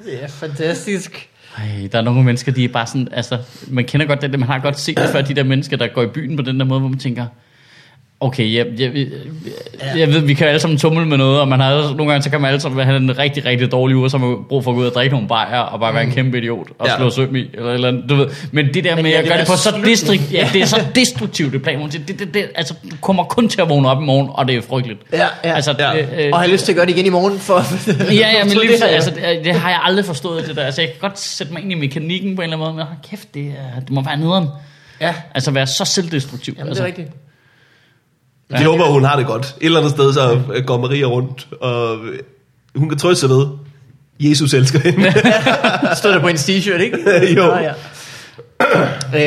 Det er fantastisk. Ej, der er nogle mennesker, de er bare sådan, altså, man kender godt det, man har godt set det før, de der mennesker, der går i byen på den der måde, hvor man tænker, okay, jeg, jeg, jeg, jeg ved, vi kan alle sammen tumle med noget, og man har, alle- nogle gange, så kan man alle sammen have en rigtig, rigtig dårlig uge, og så har man brug for at gå ud og drikke nogle bajer, og bare være en kæmpe idiot, og Ja. slå søm i, eller, et eller andet, du ved. Men det der med, ja, at det gøre er det på så slutningen. destrukt, ja, det er så destruktivt, det plan, hun siger, det, det, det, altså, du kommer kun til at vågne op i morgen, og det er frygteligt. Ja, ja. Altså, Ja. øh, øh, Og har lyst til at gøre det igen i morgen for... [LAUGHS] Ja, [LAUGHS] ja, men for lige det det, her. altså, det, er- det har jeg aldrig forstået, det der. Altså, jeg kan godt sætte mig ind i mekanikken på en eller anden måde, men hold kæft, det, er, det må være nederen. ja. Altså, være så selvdestruktiv. Jamen, det altså. er rigtigt. Vi håber, hun har det godt. Et eller andet sted, så øh, går Maria rundt, og øh, hun kan trøste sig ved, Jesus elsker hende. [LAUGHS] Stod der på en t-shirt, ikke? [LAUGHS] Jo. Nå, ja. [CLEARS THROAT]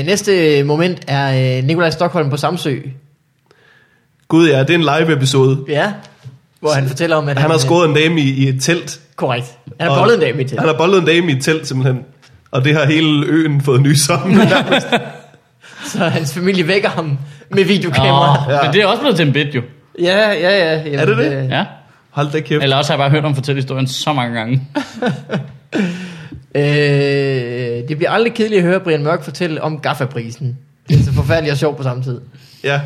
øh, næste moment er øh, Nikolaj Stockholm på Samsø. [LAUGHS] Gud ja, det er en live-episode. Ja. Hvor han fortæller om, at Han har scoret en dame i, i et telt. Korrekt. Han har og- bollet en dag midt Han har bollet en dame i et telt, simpelthen. Og det har hele øen fået nys [LAUGHS] om. Så hans familie vækker ham med videokamera. Nå, Ja. ja. men det er også blevet til en bit, jo. Ja, ja, ja. Jamen, Er det det? øh, Ja. Hold da kæft. Eller også har jeg bare hørt om fortælle historien så mange gange. Øh, det bliver aldrig kedeligt at høre Brian Mørk fortælle om gaffaprisen. Det er så forfærdeligt og sjovt på samme tid. Ja.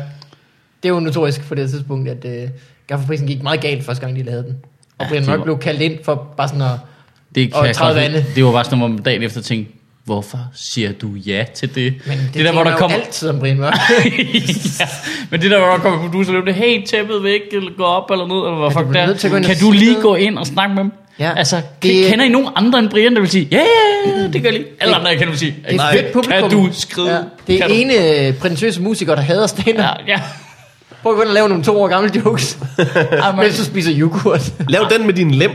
Det er jo notorisk på det tidspunkt, at øh, gaffaprisen gik meget galt første gang, de lavede den. Og Ja, Brian det Mørk var- blev kaldt ind for bare sådan at... Det, Og jeg 30 godt lide. vande. det var bare sådan, hvor man dagen efter tænkte, hvorfor siger du ja til det? Men det, der, hvor man der jo kommer... altid om Brian Mørk. [LAUGHS] ja. Men det der, hvor der kommer producer løbende, hey, tæppet væk, eller gå op eller ned, eller hvad fuck bliver nødt til at gå der. ind og Kan du sige lige noget. gå ind og snakke med dem? Ja. Altså, Det- det... kender I nogen andre end Brian, der vil sige, ja, ja, ja, det gør jeg lige. Alle andre, jeg kender, vil sige, Det er "Nej, et fedt publikum. Kan du skride? Ja. Det er Kan du?" ene øh, prinsøse musiker, der hader stand Ja, ja. ja. [LAUGHS] Prøv at gå ind og lave nogle to år gamle jokes, Ej, mens du spiser yoghurt. Lav den med din lem.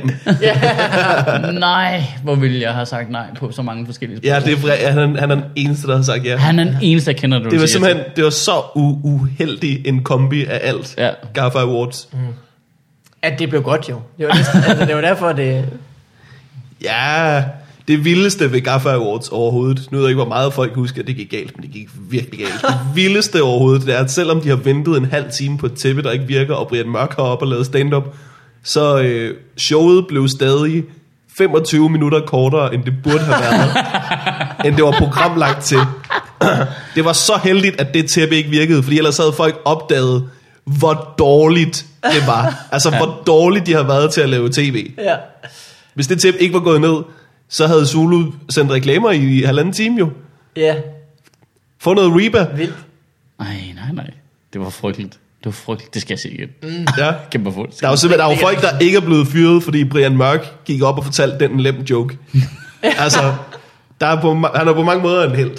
man, nej, hvor ville jeg have sagt nej på så mange forskellige Ja, spørgsmål. det er, vre- han, er- han er den eneste, der har sagt ja. Han er den eneste, jeg kender, der Det var vil sige ja til simpelthen det var så u- uheldig en kombi af alt. Ja. Gaffa Awards. At det blev godt jo. Det var, [LAUGHS] næsten, altså, det var derfor, det... Ja, det vildeste ved Gaffa Awards overhovedet. Nu ved jeg ikke, hvor meget folk husker, at det gik galt, men det gik virkelig galt. Det vildeste overhovedet, det er, at selvom de har ventet en halv time på et tæppe, der ikke virker, og Brian Mørk har op og lavet stand-up, så øh, showet blev stadig 25 minutter kortere, end det burde have været, end det var programlagt til. [CLEARS THROAT] det var så heldigt, at det tæppe ikke virkede, fordi ellers havde folk opdaget, hvor dårligt det var. Altså, ja. hvor dårligt de har været til at lave tv. Ja. Hvis det tæppe ikke var gået ned, så havde Zulu sendt reklamer i halvanden time jo. Ja, Få noget Reba. vildt. Nej, nej, nej. Det var frygteligt. Det var frygteligt. Det skal jeg se igen. Mm. Ja. Kæmpe fuldt. Der er jo simpelthen der er jo folk, der ikke er blevet fyret, fordi Brian Mørk gik op og fortalte den en lem joke. altså, der er på, ma- han er på mange måder en held.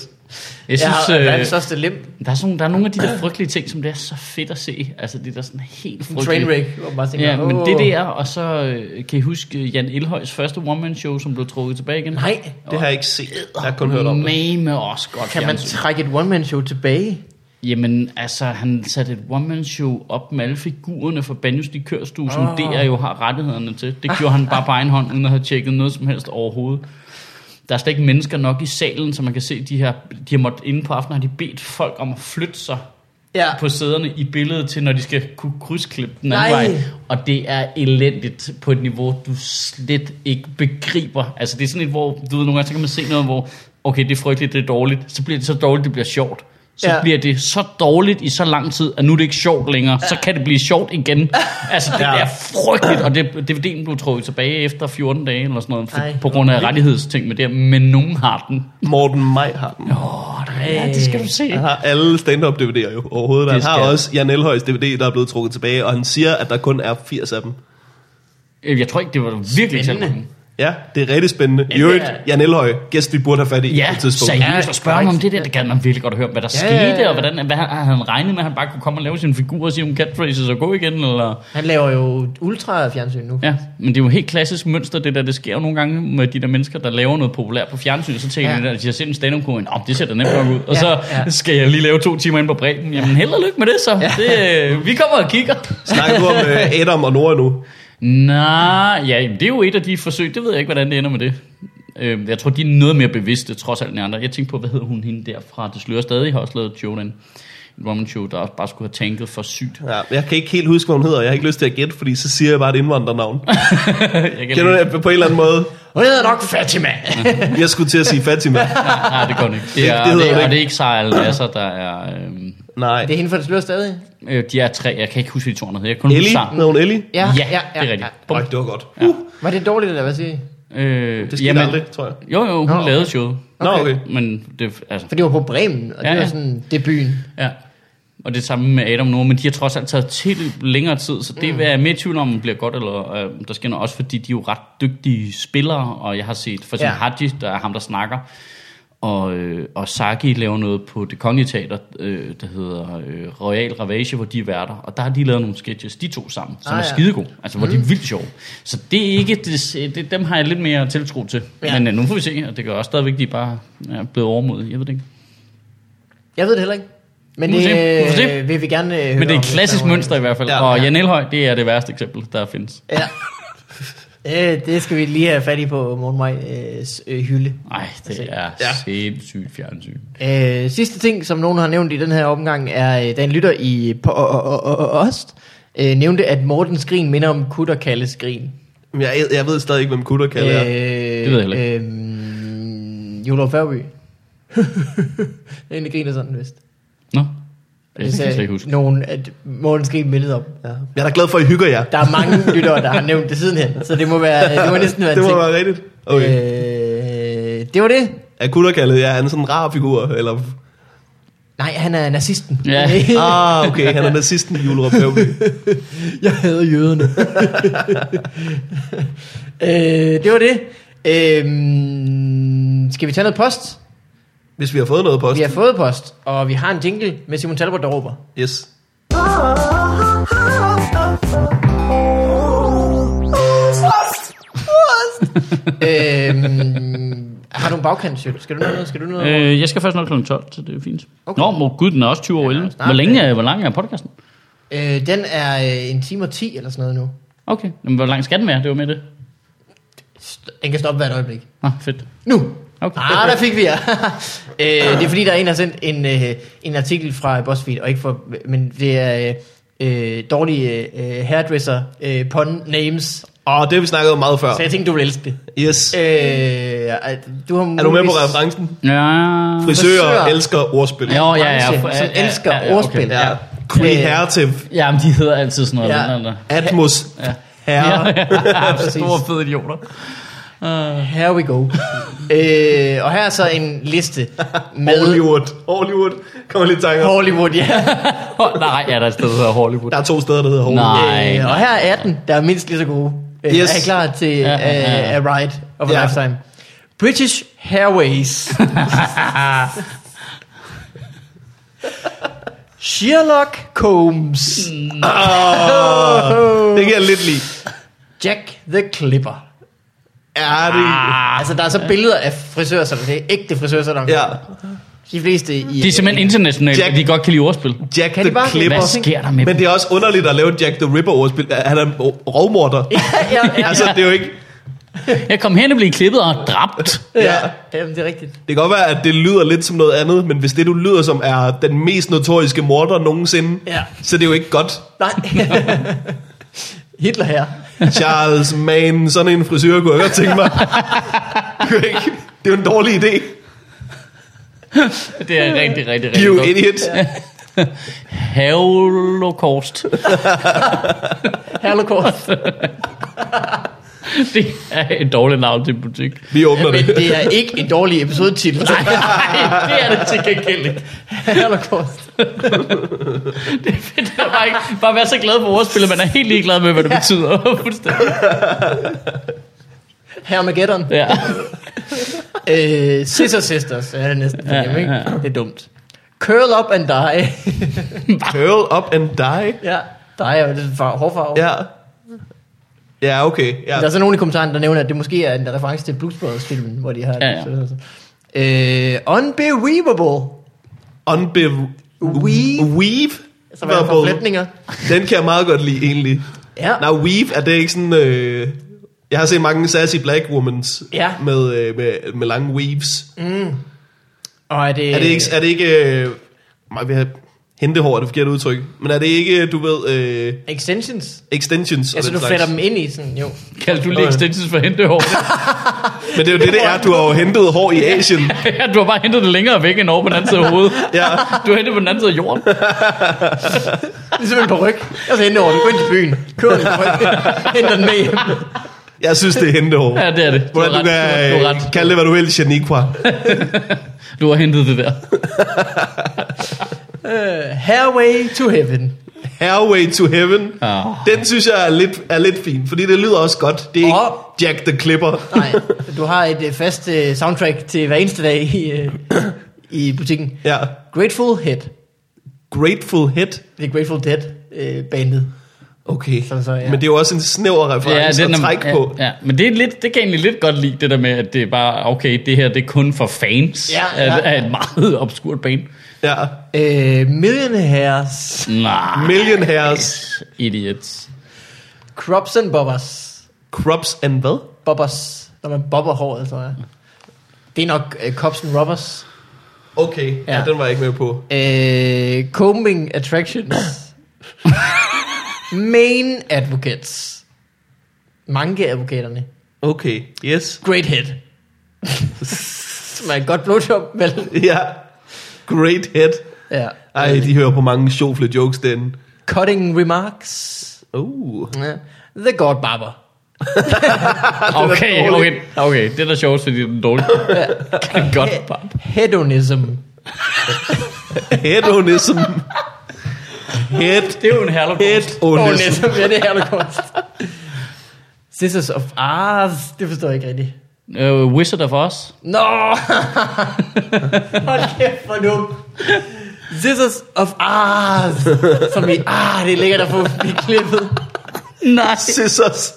Jeg Jeg synes, har øh, verdens største lim. der, er sådan, nogle- der er nogle af de der frygtelige ting, som det er så fedt at se. Altså, det er der sådan helt frygteligt. Trainwreck. hvor man bare tænker, Ja, men åh. det der, og så øh, kan I huske øh, Jan Elhøjs første one-man-show, som blev trukket tilbage igen? Nej, Det har jeg ikke set. Jeg har kun hørt om det. det. med også godt kan man fjernsyn. trække et one-man-show tilbage? Jamen, altså, han satte et one-man-show op med alle figurerne fra Banjus Kørstue, oh. som Åh. DR jo har rettighederne til. Det gjorde han bare på egen hånd, uden at have tjekket noget som helst overhovedet. Der er slet ikke mennesker nok i salen, så man kan se, de her, de har måttet inde på aftenen, har de bedt folk om at flytte sig Ja. på sæderne i billedet til, når de skal kunne krydsklippe den anden Nej. Nej. vej. Og det er elendigt på et niveau, du slet ikke begriber. Altså det er sådan et, hvor du ved, nogle gange så kan man se noget, hvor okay, det er frygteligt, det er dårligt. Så bliver det så dårligt, det bliver sjovt. Så Ja. ja. bliver det så dårligt i så lang tid, at nu er det ikke sjovt længere. Så kan det blive sjovt [LAUGHS] igen. Altså det Ja. er frygteligt, og det, DVD'en blev trukket tilbage efter 14 dage eller sådan noget, for, Ej, på grund af rettighedsting med det her. Men nogen har den. Morten Maj har den. Ja, det skal du se. Han har alle stand-up DVD'er jo overhovedet. Han Det har skal- også Jan Elhøjs DVD, der er blevet trukket tilbage, og han siger, at der kun er 80 af dem. Øh, Jeg tror ikke, det var virkelig Spændende. sådan. Ja, det er rigtig spændende. I det øvrigt, er- Jan Elhøj, gæst vi burde have fat i på Ja, et tidspunkt. seriøst Ja, at spørge ham om det der. Det gad man virkelig godt at høre, hvad der Ja, ja, ja, ja. skete, og hvordan, hvad han, han regnede med, at han bare kunne komme og lave sin figur og sige om catphrases og gå igen, eller... Han laver jo ultra-fjernsyn nu. Ja, men det er jo helt klassisk mønster, det der, det sker jo nogle gange med de der mennesker, der laver noget populært på fjernsyn, så tænker Ja. ja. de der, at de har set en stand up oh, det ser da nemt nok ud, og Ja, så ja. skal jeg lige lave to timer ind på bredden, jamen held og lykke med det så, det, øh, vi kommer og kigger. Snakker du om øh, Adam og Nora nu? Nej, ja, jamen, det er jo et af de forsøg, det ved jeg ikke, hvordan det ender med det. Øh, jeg tror, de er noget mere bevidste, trods alt end andre. Jeg tænkte på, hvad hedder hun hende derfra? Det slører stadig, har også lavet Jordan. En woman show, der også bare skulle have tænket for sygt. [LAUGHS] Ja, jeg kan ikke helt huske, hvad hun hedder. Jeg har ikke lyst til at gætte, fordi så siger jeg bare et indvandrernavn. jeg kan Kender du det på en eller anden måde? Hun hedder nok Fatima. Jeg skulle til at sige Fatima. Nej, nej, det går ikke. Det er, Det- det det, det, hedder det er, ikke. og det er ikke Sarah Lasser, der er... øhm, Nej. det er hende for det slør stadig. Øh, de er tre, jeg kan ikke huske, hvad de to andre hedder. Jeg kan kun huske Ellie? Sarah. Hedder hun Ellie? Ja, Ja, det er rigtigt. Øj, det var godt. Ja. Uh, Var det dårligt, eller hvad siger I? Øh, det skete jamen, aldrig, tror jeg. Jo, jo, hun Nå. lavede showet. Nå, Okay. okay. Men det, altså, For det var på Bremen, og det Ja, var ja. sådan debuten. Ja. Og det samme med Adam Nord, men de har trods alt taget til længere tid, så det mm. er jeg mere i tvivl om, om det bliver godt, eller øh, der sker noget, også fordi de er jo ret dygtige spillere, og jeg har set for eksempel Ja. ja. Haji, der er ham, der snakker, og, øh, og Saki laver noget på det kongelige teater, øh, der hedder øh, Royal Ravage, hvor de er værter, og der har de lavet nogle sketches, de to sammen, som Ah, ah, er ja. skidegode, altså hvor mm. de er vildt sjove. Så det er ikke, det, det, dem har jeg lidt mere tiltro til, Ja. ja. men øh, nu får vi se, og det gør også stadigvæk, de er bare ja, blevet overmodige, jeg ved det ikke. Jeg ved det heller ikke. Men Nu det må vi se. Nu må vi se. øh, vil vi gerne øh, høre Men det er om et klassisk fremover. mønster i hvert fald. Ja. Ja, og Jan Elhøj, det er det værste eksempel, der findes. Ja. Øh, det skal vi lige have fat i på Morten Maj øh, s- øh, hylde. Nej, det er Ja. sindssygt fjernsyn. Øh, sidste ting, som nogen har nævnt i den her omgang, er, øh, da en lytter i på, o, o, o, o, Ost øh, nævnte, at Mortens grin minder om Kutter Kalles grin. Men Jeg, jeg ved stadig ikke, hvem Kutter kan være. Øh, Det ved jeg heller ikke. Øh, Jolof [LAUGHS] Færby. Den griner sådan, vist. Nå, det kan jeg slet ikke huske. nogen, at Mortens grin mindede om. Ja. Jeg er da glad for, at I hygger jer. Der er mange [LAUGHS] lyttere, der har nævnt det sidenhen, så det må, være, det må næsten være en [LAUGHS] Det må ting. være rigtigt. Okay. Øh, det var det. Er Kutterkaldet, ja, han er sådan en rar figur, eller... Nej, han er nazisten. Ja. [LAUGHS] Ah, okay, han er nazisten i Julerup Høvby. [LAUGHS] Jeg hader jøderne. øh, det var det. Øh, skal vi tage noget post? Hvis vi har fået noget post. Vi har fået post, og vi har en jingle med Simon Talbot, der råber. Yes. øh, har du en bagkantsøl? Skal du nå noget? Skal du nå noget? [LAUGHS] Øh, jeg skal først nå kl. 12, så det er fint. Okay. Okay. Nå, må gud, den er også 20 år 11. snart, Hvor, længe øh. er, hvor lang er podcasten? Øh, den er øh, en time og ti eller sådan noget nu. Okay, Jamen, hvor lang skal den være? Det var med det. St- Den kan stoppe hvert øjeblik. Nå, fedt. Nu! Okay. Ah, der fik vi jer. [LAUGHS] øh, det er fordi, der er en, der har sendt en, øh, en artikel fra BuzzFeed, og ikke for, men det er øh, øh, dårlige øh, hairdresser øh, pun names. Åh, det har vi snakket om meget før. Så jeg tænkte, du ville elske det. Yes. Øh, at du har Er du med på muligvis- referencen? Ja. Frisører Frisører. elsker ordspil. Jo, ja, ja, branche, ja, som ja, elsker ja, ja, okay. ordspil. Ja. Øh, Ja. Creative. ja, men de hedder altid sådan noget. Ja. Ja. Eller. [LAUGHS] Atmos. Ja. [LAUGHS] Herre. ja. præcis. Store fede idioter. Here we go. øh, og her er så en [LAUGHS] liste med Hollywood. Hollywood. Kommer lidt i tanker. om. Hollywood, ja. Åh, Nej, ja, der er et sted, der hedder Hollywood. Der er to steder, der hedder Hollywood. Nej. Øh, og her er 18, der er mindst lige så gode. Øh, Yes. Er I klar til Ja, ja, ja. øh, A Ride of a Ja. Lifetime? British Airways. Sherlock Holmes. Det kan jeg lidt lide. Jack the Clipper. Er det? Ah. Altså, der er så billeder af frisørsalon. Det er ægte frisørsalon. Ja. De fleste i... Det er simpelthen internationalt, Jack- at de godt kan lide ordspil. Jack Kan de the bare- Clipper. Hvad sker der med Men dem? det er også underligt at lave et Jack the Ripper ordspil. Han er en rovmorder. [LAUGHS] ja, ja, altså, det er jo ikke... Jeg kom hen og blev klippet og dræbt. ja. ja. ja. Jamen, det er rigtigt. Det kan godt være, at det lyder lidt som noget andet, men hvis det, du lyder som, er den mest notoriske morder nogensinde, Ja. så det er jo ikke godt. Nej. [LAUGHS] Hitler her. Charles Mann, sådan en frisør kunne jeg godt tænke [LAUGHS] mig. Kunne jeg ikke? det er jo en dårlig idé. [LAUGHS] Det er rigtig, rigtig, rigtig You godt. idiot. [LAUGHS] Holocaust. Holocaust. Det er et dårligt navn til en [LAUGHS] butik. Vi åbner Men det. det er ikke en dårlig episodetitel. [LAUGHS] Nej, nej, det er det til gengæld ikke. Holocaust. Det er bare, ikke, bare være så glad for ordspillet, man er helt ligeglad med, hvad det betyder. [LAUGHS] Fuldstændig. Hermageddon. Ja. Øh, Sister Sisters er det næsten. Ja, Ja, ja, ja, ja. Det er dumt. Curl up and die. Curl up and die. ja, die er jo lidt far- hårfarve. Ja. Ja. Ja, okay. Ja. Der er så nogen i kommentaren, der nævner, at det måske er en reference til Blues Brothers filmen, hvor de har Ja, ja. det. Øh, unbelievable. Unbe- Weave. Weave. Så var der Verbal. forflætninger. Den kan jeg meget godt lide, egentlig. Ja. Nej, Weave, er det ikke sådan... Øh... Jeg har set mange sassy black womans Ja. Mm. med, øh, med, med lange weaves. Og er det, Er det ikke... Er det ikke øh, mig, vi har hentehår, er det forkerte udtryk. Men er det ikke, du ved, øh, extensions? extensions og Altså, den du slags? fletter dem ind i sådan, jo. Kaldte du lige extensions for at hente hår? Men det er jo det, det er. Du har jo hentet hår i Asien. Ja, du har bare hentet det længere væk end over på den anden side af hovedet. Ja. Du har hentet på den anden side af jorden. Ligesom en ryg. Jeg skal hente over den. Gå ind til byen. Kør den på [LAUGHS] ryg. Henter den med hjem. Jeg synes, det er hentehår. Ja, det er det. Du har Hvordan du ret. kan Du har øh, ret. kalde det, hvad du vil, Janiqua. [LAUGHS] Du har hentet det der. Uh, Hairway to heaven. Airway to Heaven. Ja. Den synes jeg er lidt, er lidt fin, fordi det lyder også godt. Det er ikke Og- Jack the Clipper. Nej, du har et øh, fast øh, soundtrack til hver eneste dag i, øh, i [LAUGHS] butikken. Ja. Grateful Head. Grateful Head. Det er Grateful Dead øh, bandet. Okay. Sådan så, ja. Men det er jo også en snæver reference ja, er at nem- trække på. Ja, ja, men det, er lidt, det kan jeg egentlig lidt godt lide, det der med, at det er bare, okay, det her det er kun for fans Ja, ja. Af, af et meget obskurt bane. Ja. Øh, Millionaires. Nej, Million Hairs. idiots. Crops and Bobbers. Crops and hvad? Bobbers. Når man bobber håret, tror jeg. Det er nok øh, Cops and Robbers. Okay, ja. Ja. ja. den var jeg ikke med på. Øh, combing Attractions. Main Advocates. Mange-advokaterne. Okay, yes. [LAUGHS] Great Head. [LAUGHS] Som er et godt blowjob, vel? Ja. Great Head. Ja. Ej, de hører på mange sjofle jokes den. Cutting Remarks. Uh. Ja. The God Barber. Okay, dårlig. okay, okay, det er da sjovt, fordi det er den dårlige. [LAUGHS] Godt, bare. Hedonism. [LAUGHS] Hedonism. Head. Det er jo en herlig Hedonism. Hedonism, ja, det er det kunst. Sisters of Ars, det forstår jeg ikke rigtigt. uh, Wizard of Oz. Nå! Hold kæft, hvor dum. Sisters of Ars. Som i, ah, det er lækkert at få blive klippet. Nej. Scissors.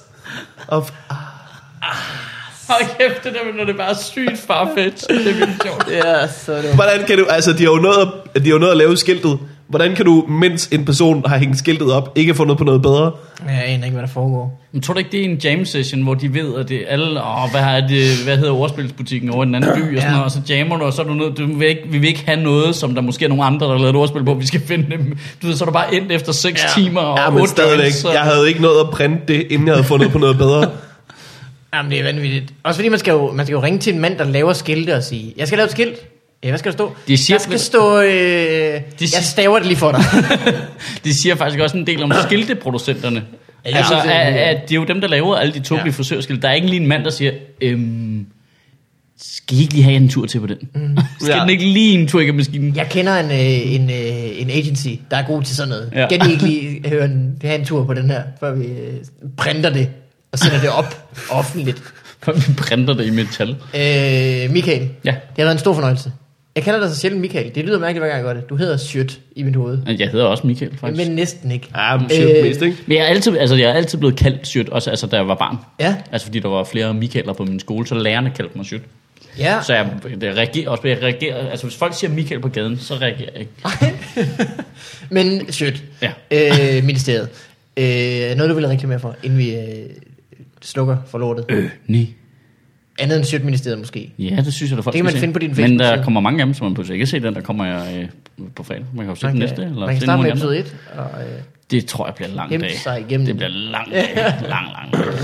Of Hold kæft, det der, når det bare er sygt farfetch. Det er vildt sjovt. Ja, så dumt. Hvordan kan du, altså de har jo nået at, de har jo nået at lave skiltet, Hvordan kan du, mens en person har hængt skiltet op, ikke få noget på noget bedre? Jeg aner ikke, hvad der foregår. Men tror du ikke, det er en jam session, hvor de ved, at det er alle, åh, hvad, er det, hvad hedder ordspilsbutikken over i den anden by, og, sådan Ja. noget, og så jammer du, og så er du nødt, du vil ikke, vi vil ikke have noget, som der måske er nogle andre, der har lavet et ordspil på, vi skal finde dem. Du ved, så er du bare endt efter 6 ja. timer og Ja, men otte stadigvæk. drinks, og- Jeg havde ikke nået at printe det, inden jeg havde fundet på noget bedre. Jamen, det er vanvittigt. Også fordi man skal, jo, man skal jo ringe til en mand, der laver skilte og sige, jeg skal lave et skilt. Ja, hvad skal der stå? De siger- der skal stå, øh, jeg siger- staver det lige for dig. [LAUGHS] [LAUGHS] De siger faktisk også en del om skilteproducenterne. Ja, altså, det er- at, at det er jo dem, der laver alle de tåbelige Ja. ja. forsøgsskilte. Der er ikke lige en mand, der siger, øhm, skal I ikke lige have en tur til på den? Mm. [LAUGHS] skal Ja. ja. den ikke lige en tur igennem maskinen? Jeg kender en, øh, en, øh, en agency, der er god til sådan noget. Ja. Ja. Kan I ikke lige høre en, have en tur på den her, før vi øh, printer det og sender det op [LAUGHS] offentligt? For [LAUGHS] vi printer det i metal. Øh, Michael, Ja. det har været en stor fornøjelse. Jeg kalder dig så sjældent Michael. Det lyder mærkeligt, hver gang jeg gør det. Du hedder Sjøt i mit hoved. Jeg hedder også Michael, faktisk. Men næsten ikke. Ja, men [LAUGHS] shit, Øh. mest, ikke? Men jeg er altid, altså, jeg er altid blevet kaldt Sjøt, også altså, da jeg var barn. Ja, Altså fordi der var flere Michaeler på min skole, så lærerne kaldte mig Sjøt. ja. Så jeg, jeg reagerer også, jeg reagerer, altså hvis folk siger Michael på gaden, så reagerer jeg ikke. Men Sjøt, Ja. øh, ministeriet. Øh, noget, du vil reklamere for, inden vi øh, slukker for lortet. Øh, nej. Andet end Sjøt ministeriet måske. Ja, det synes jeg, der folk Det skal kan man se. finde på din Men Facebook-side. der kommer mange af dem, som man pludselig ikke kan se. Den der kommer jeg øh, på fredag. Man kan jo se Man den kan, næste. Eller man kan se starte nogle med af de andre. episode 1. Og, øh, Det tror jeg bliver en lang Kæmpe dag. sig igennem. Det bliver en lang [LAUGHS] dag. lang, lang dag.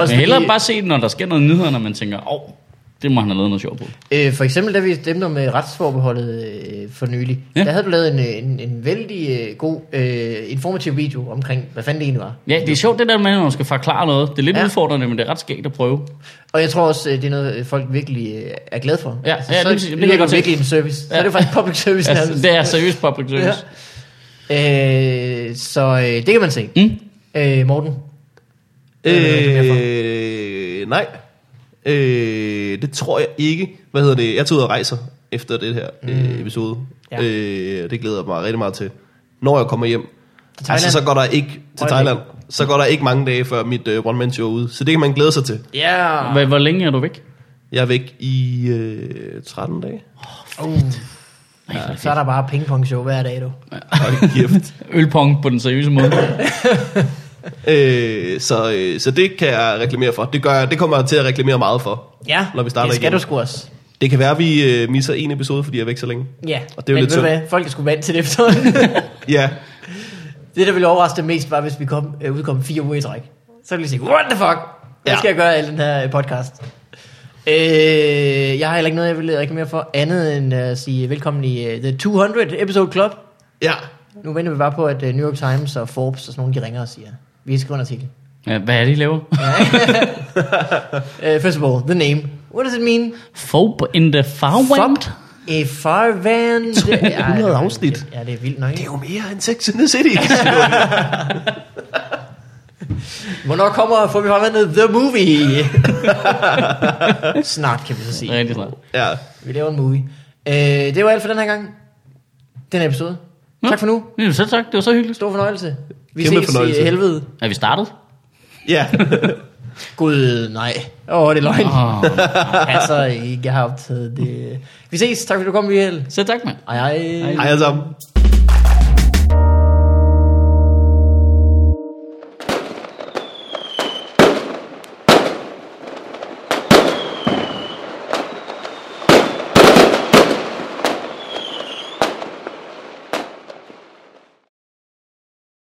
Også Men hellere fordi- bare se den, når der sker noget nyheder, når man tænker, åh, oh, det må han have lavet noget sjovt på. Øh, for eksempel, da vi stemte om øh, retsforbeholdet øh, for nylig, ja. Ja. der havde du lavet en, øh, en, en vældig øh, god øh, informativ video omkring, hvad fanden det egentlig var. Ja, det er sjovt det der med, når man skal forklare noget. Det er lidt Ja. ja. udfordrende, men det er ret skægt at prøve. Og jeg tror også, øh, det er noget, øh, folk virkelig øh, er glade for. Ja, ja, så det vil sige- det kan det jeg er godt se. virkelig en service. Ja. Så Ja. er det faktisk public service. Altså, nærmest. det er seriøst public service. Øh, så øh, det kan man se. Ja. Mm? Øh, Morten? Hvad vil du reklamere for? Øh, nej. Øh, det tror jeg ikke. Hvad hedder det? Jeg tager ud og rejser efter det her øh, episode. Ja. Ja. Øh, det glæder jeg mig rigtig meget til. Når jeg kommer hjem. Thailand? Altså, så går der ikke til Øjeblik. Thailand. Så går der ikke mange dage før mit øh, one man show er ude. Så det kan man glæde sig til. Ja! Hvor, hvor længe er du væk? Jeg er væk i øh, 13 dage. Uh, Ej, hvor er det så er der bare pingpong show hver dag, du. Hold [LAUGHS] [LAUGHS] kæft. fedt. Ølpong på den seriøse måde. øh, så, øh, så det kan jeg reklamere for. Det, gør jeg, det kommer jeg til at reklamere meget for. Ja, Når vi starter det skal igen. du sgu også. Det kan være, at vi øh, misser en episode, fordi jeg er væk så længe. Ja, Og det er jo men lidt ved du synd. hvad? Folk er sgu vant til det [LAUGHS] efterhånden. Ja. Det, der ville overraske dem mest, var, hvis vi kom, øh, udkom fire uger i træk. Så ville de sige, what the fuck? Hvad Ja. skal jeg gøre af den her øh, podcast? Øh, jeg har heller ikke noget, jeg vil reklamere for, andet end at sige velkommen i øh, The 200 Episode Club. Ja. Nu venter vi bare på, at øh, New York Times og Forbes og sådan nogen, de ringer og siger, vi skal skrive en artikel. Ja, hvad er det, I laver? Øh, first of all, the name. What does it mean? Fob in the farwind? Fuck a farvan. 200 afsnit. Ja, det er vildt nok. Det er ikke? jo mere end Sex and the City. Hvornår kommer, får vi farvandet The Movie? [LAUGHS] Snart kan vi så sige. Rigtig snart. [LAUGHS] ja. Vi laver en movie. Øh, det var alt for den her gang. Den her episode. Nå. Tak for nu. Ja, selv tak. Det var så hyggeligt. Stor fornøjelse. Vi Kæmpe ses fornøjelse. i helvede. Er vi [LAUGHS] startet? Ja. Gud, nej. Åh, oh, det er løgn. Åh. [LAUGHS] altså, jeg har optaget det. Vi ses. Tak fordi du kom, Michael. Selv tak, mand. Ej, ej. Hej alle sammen.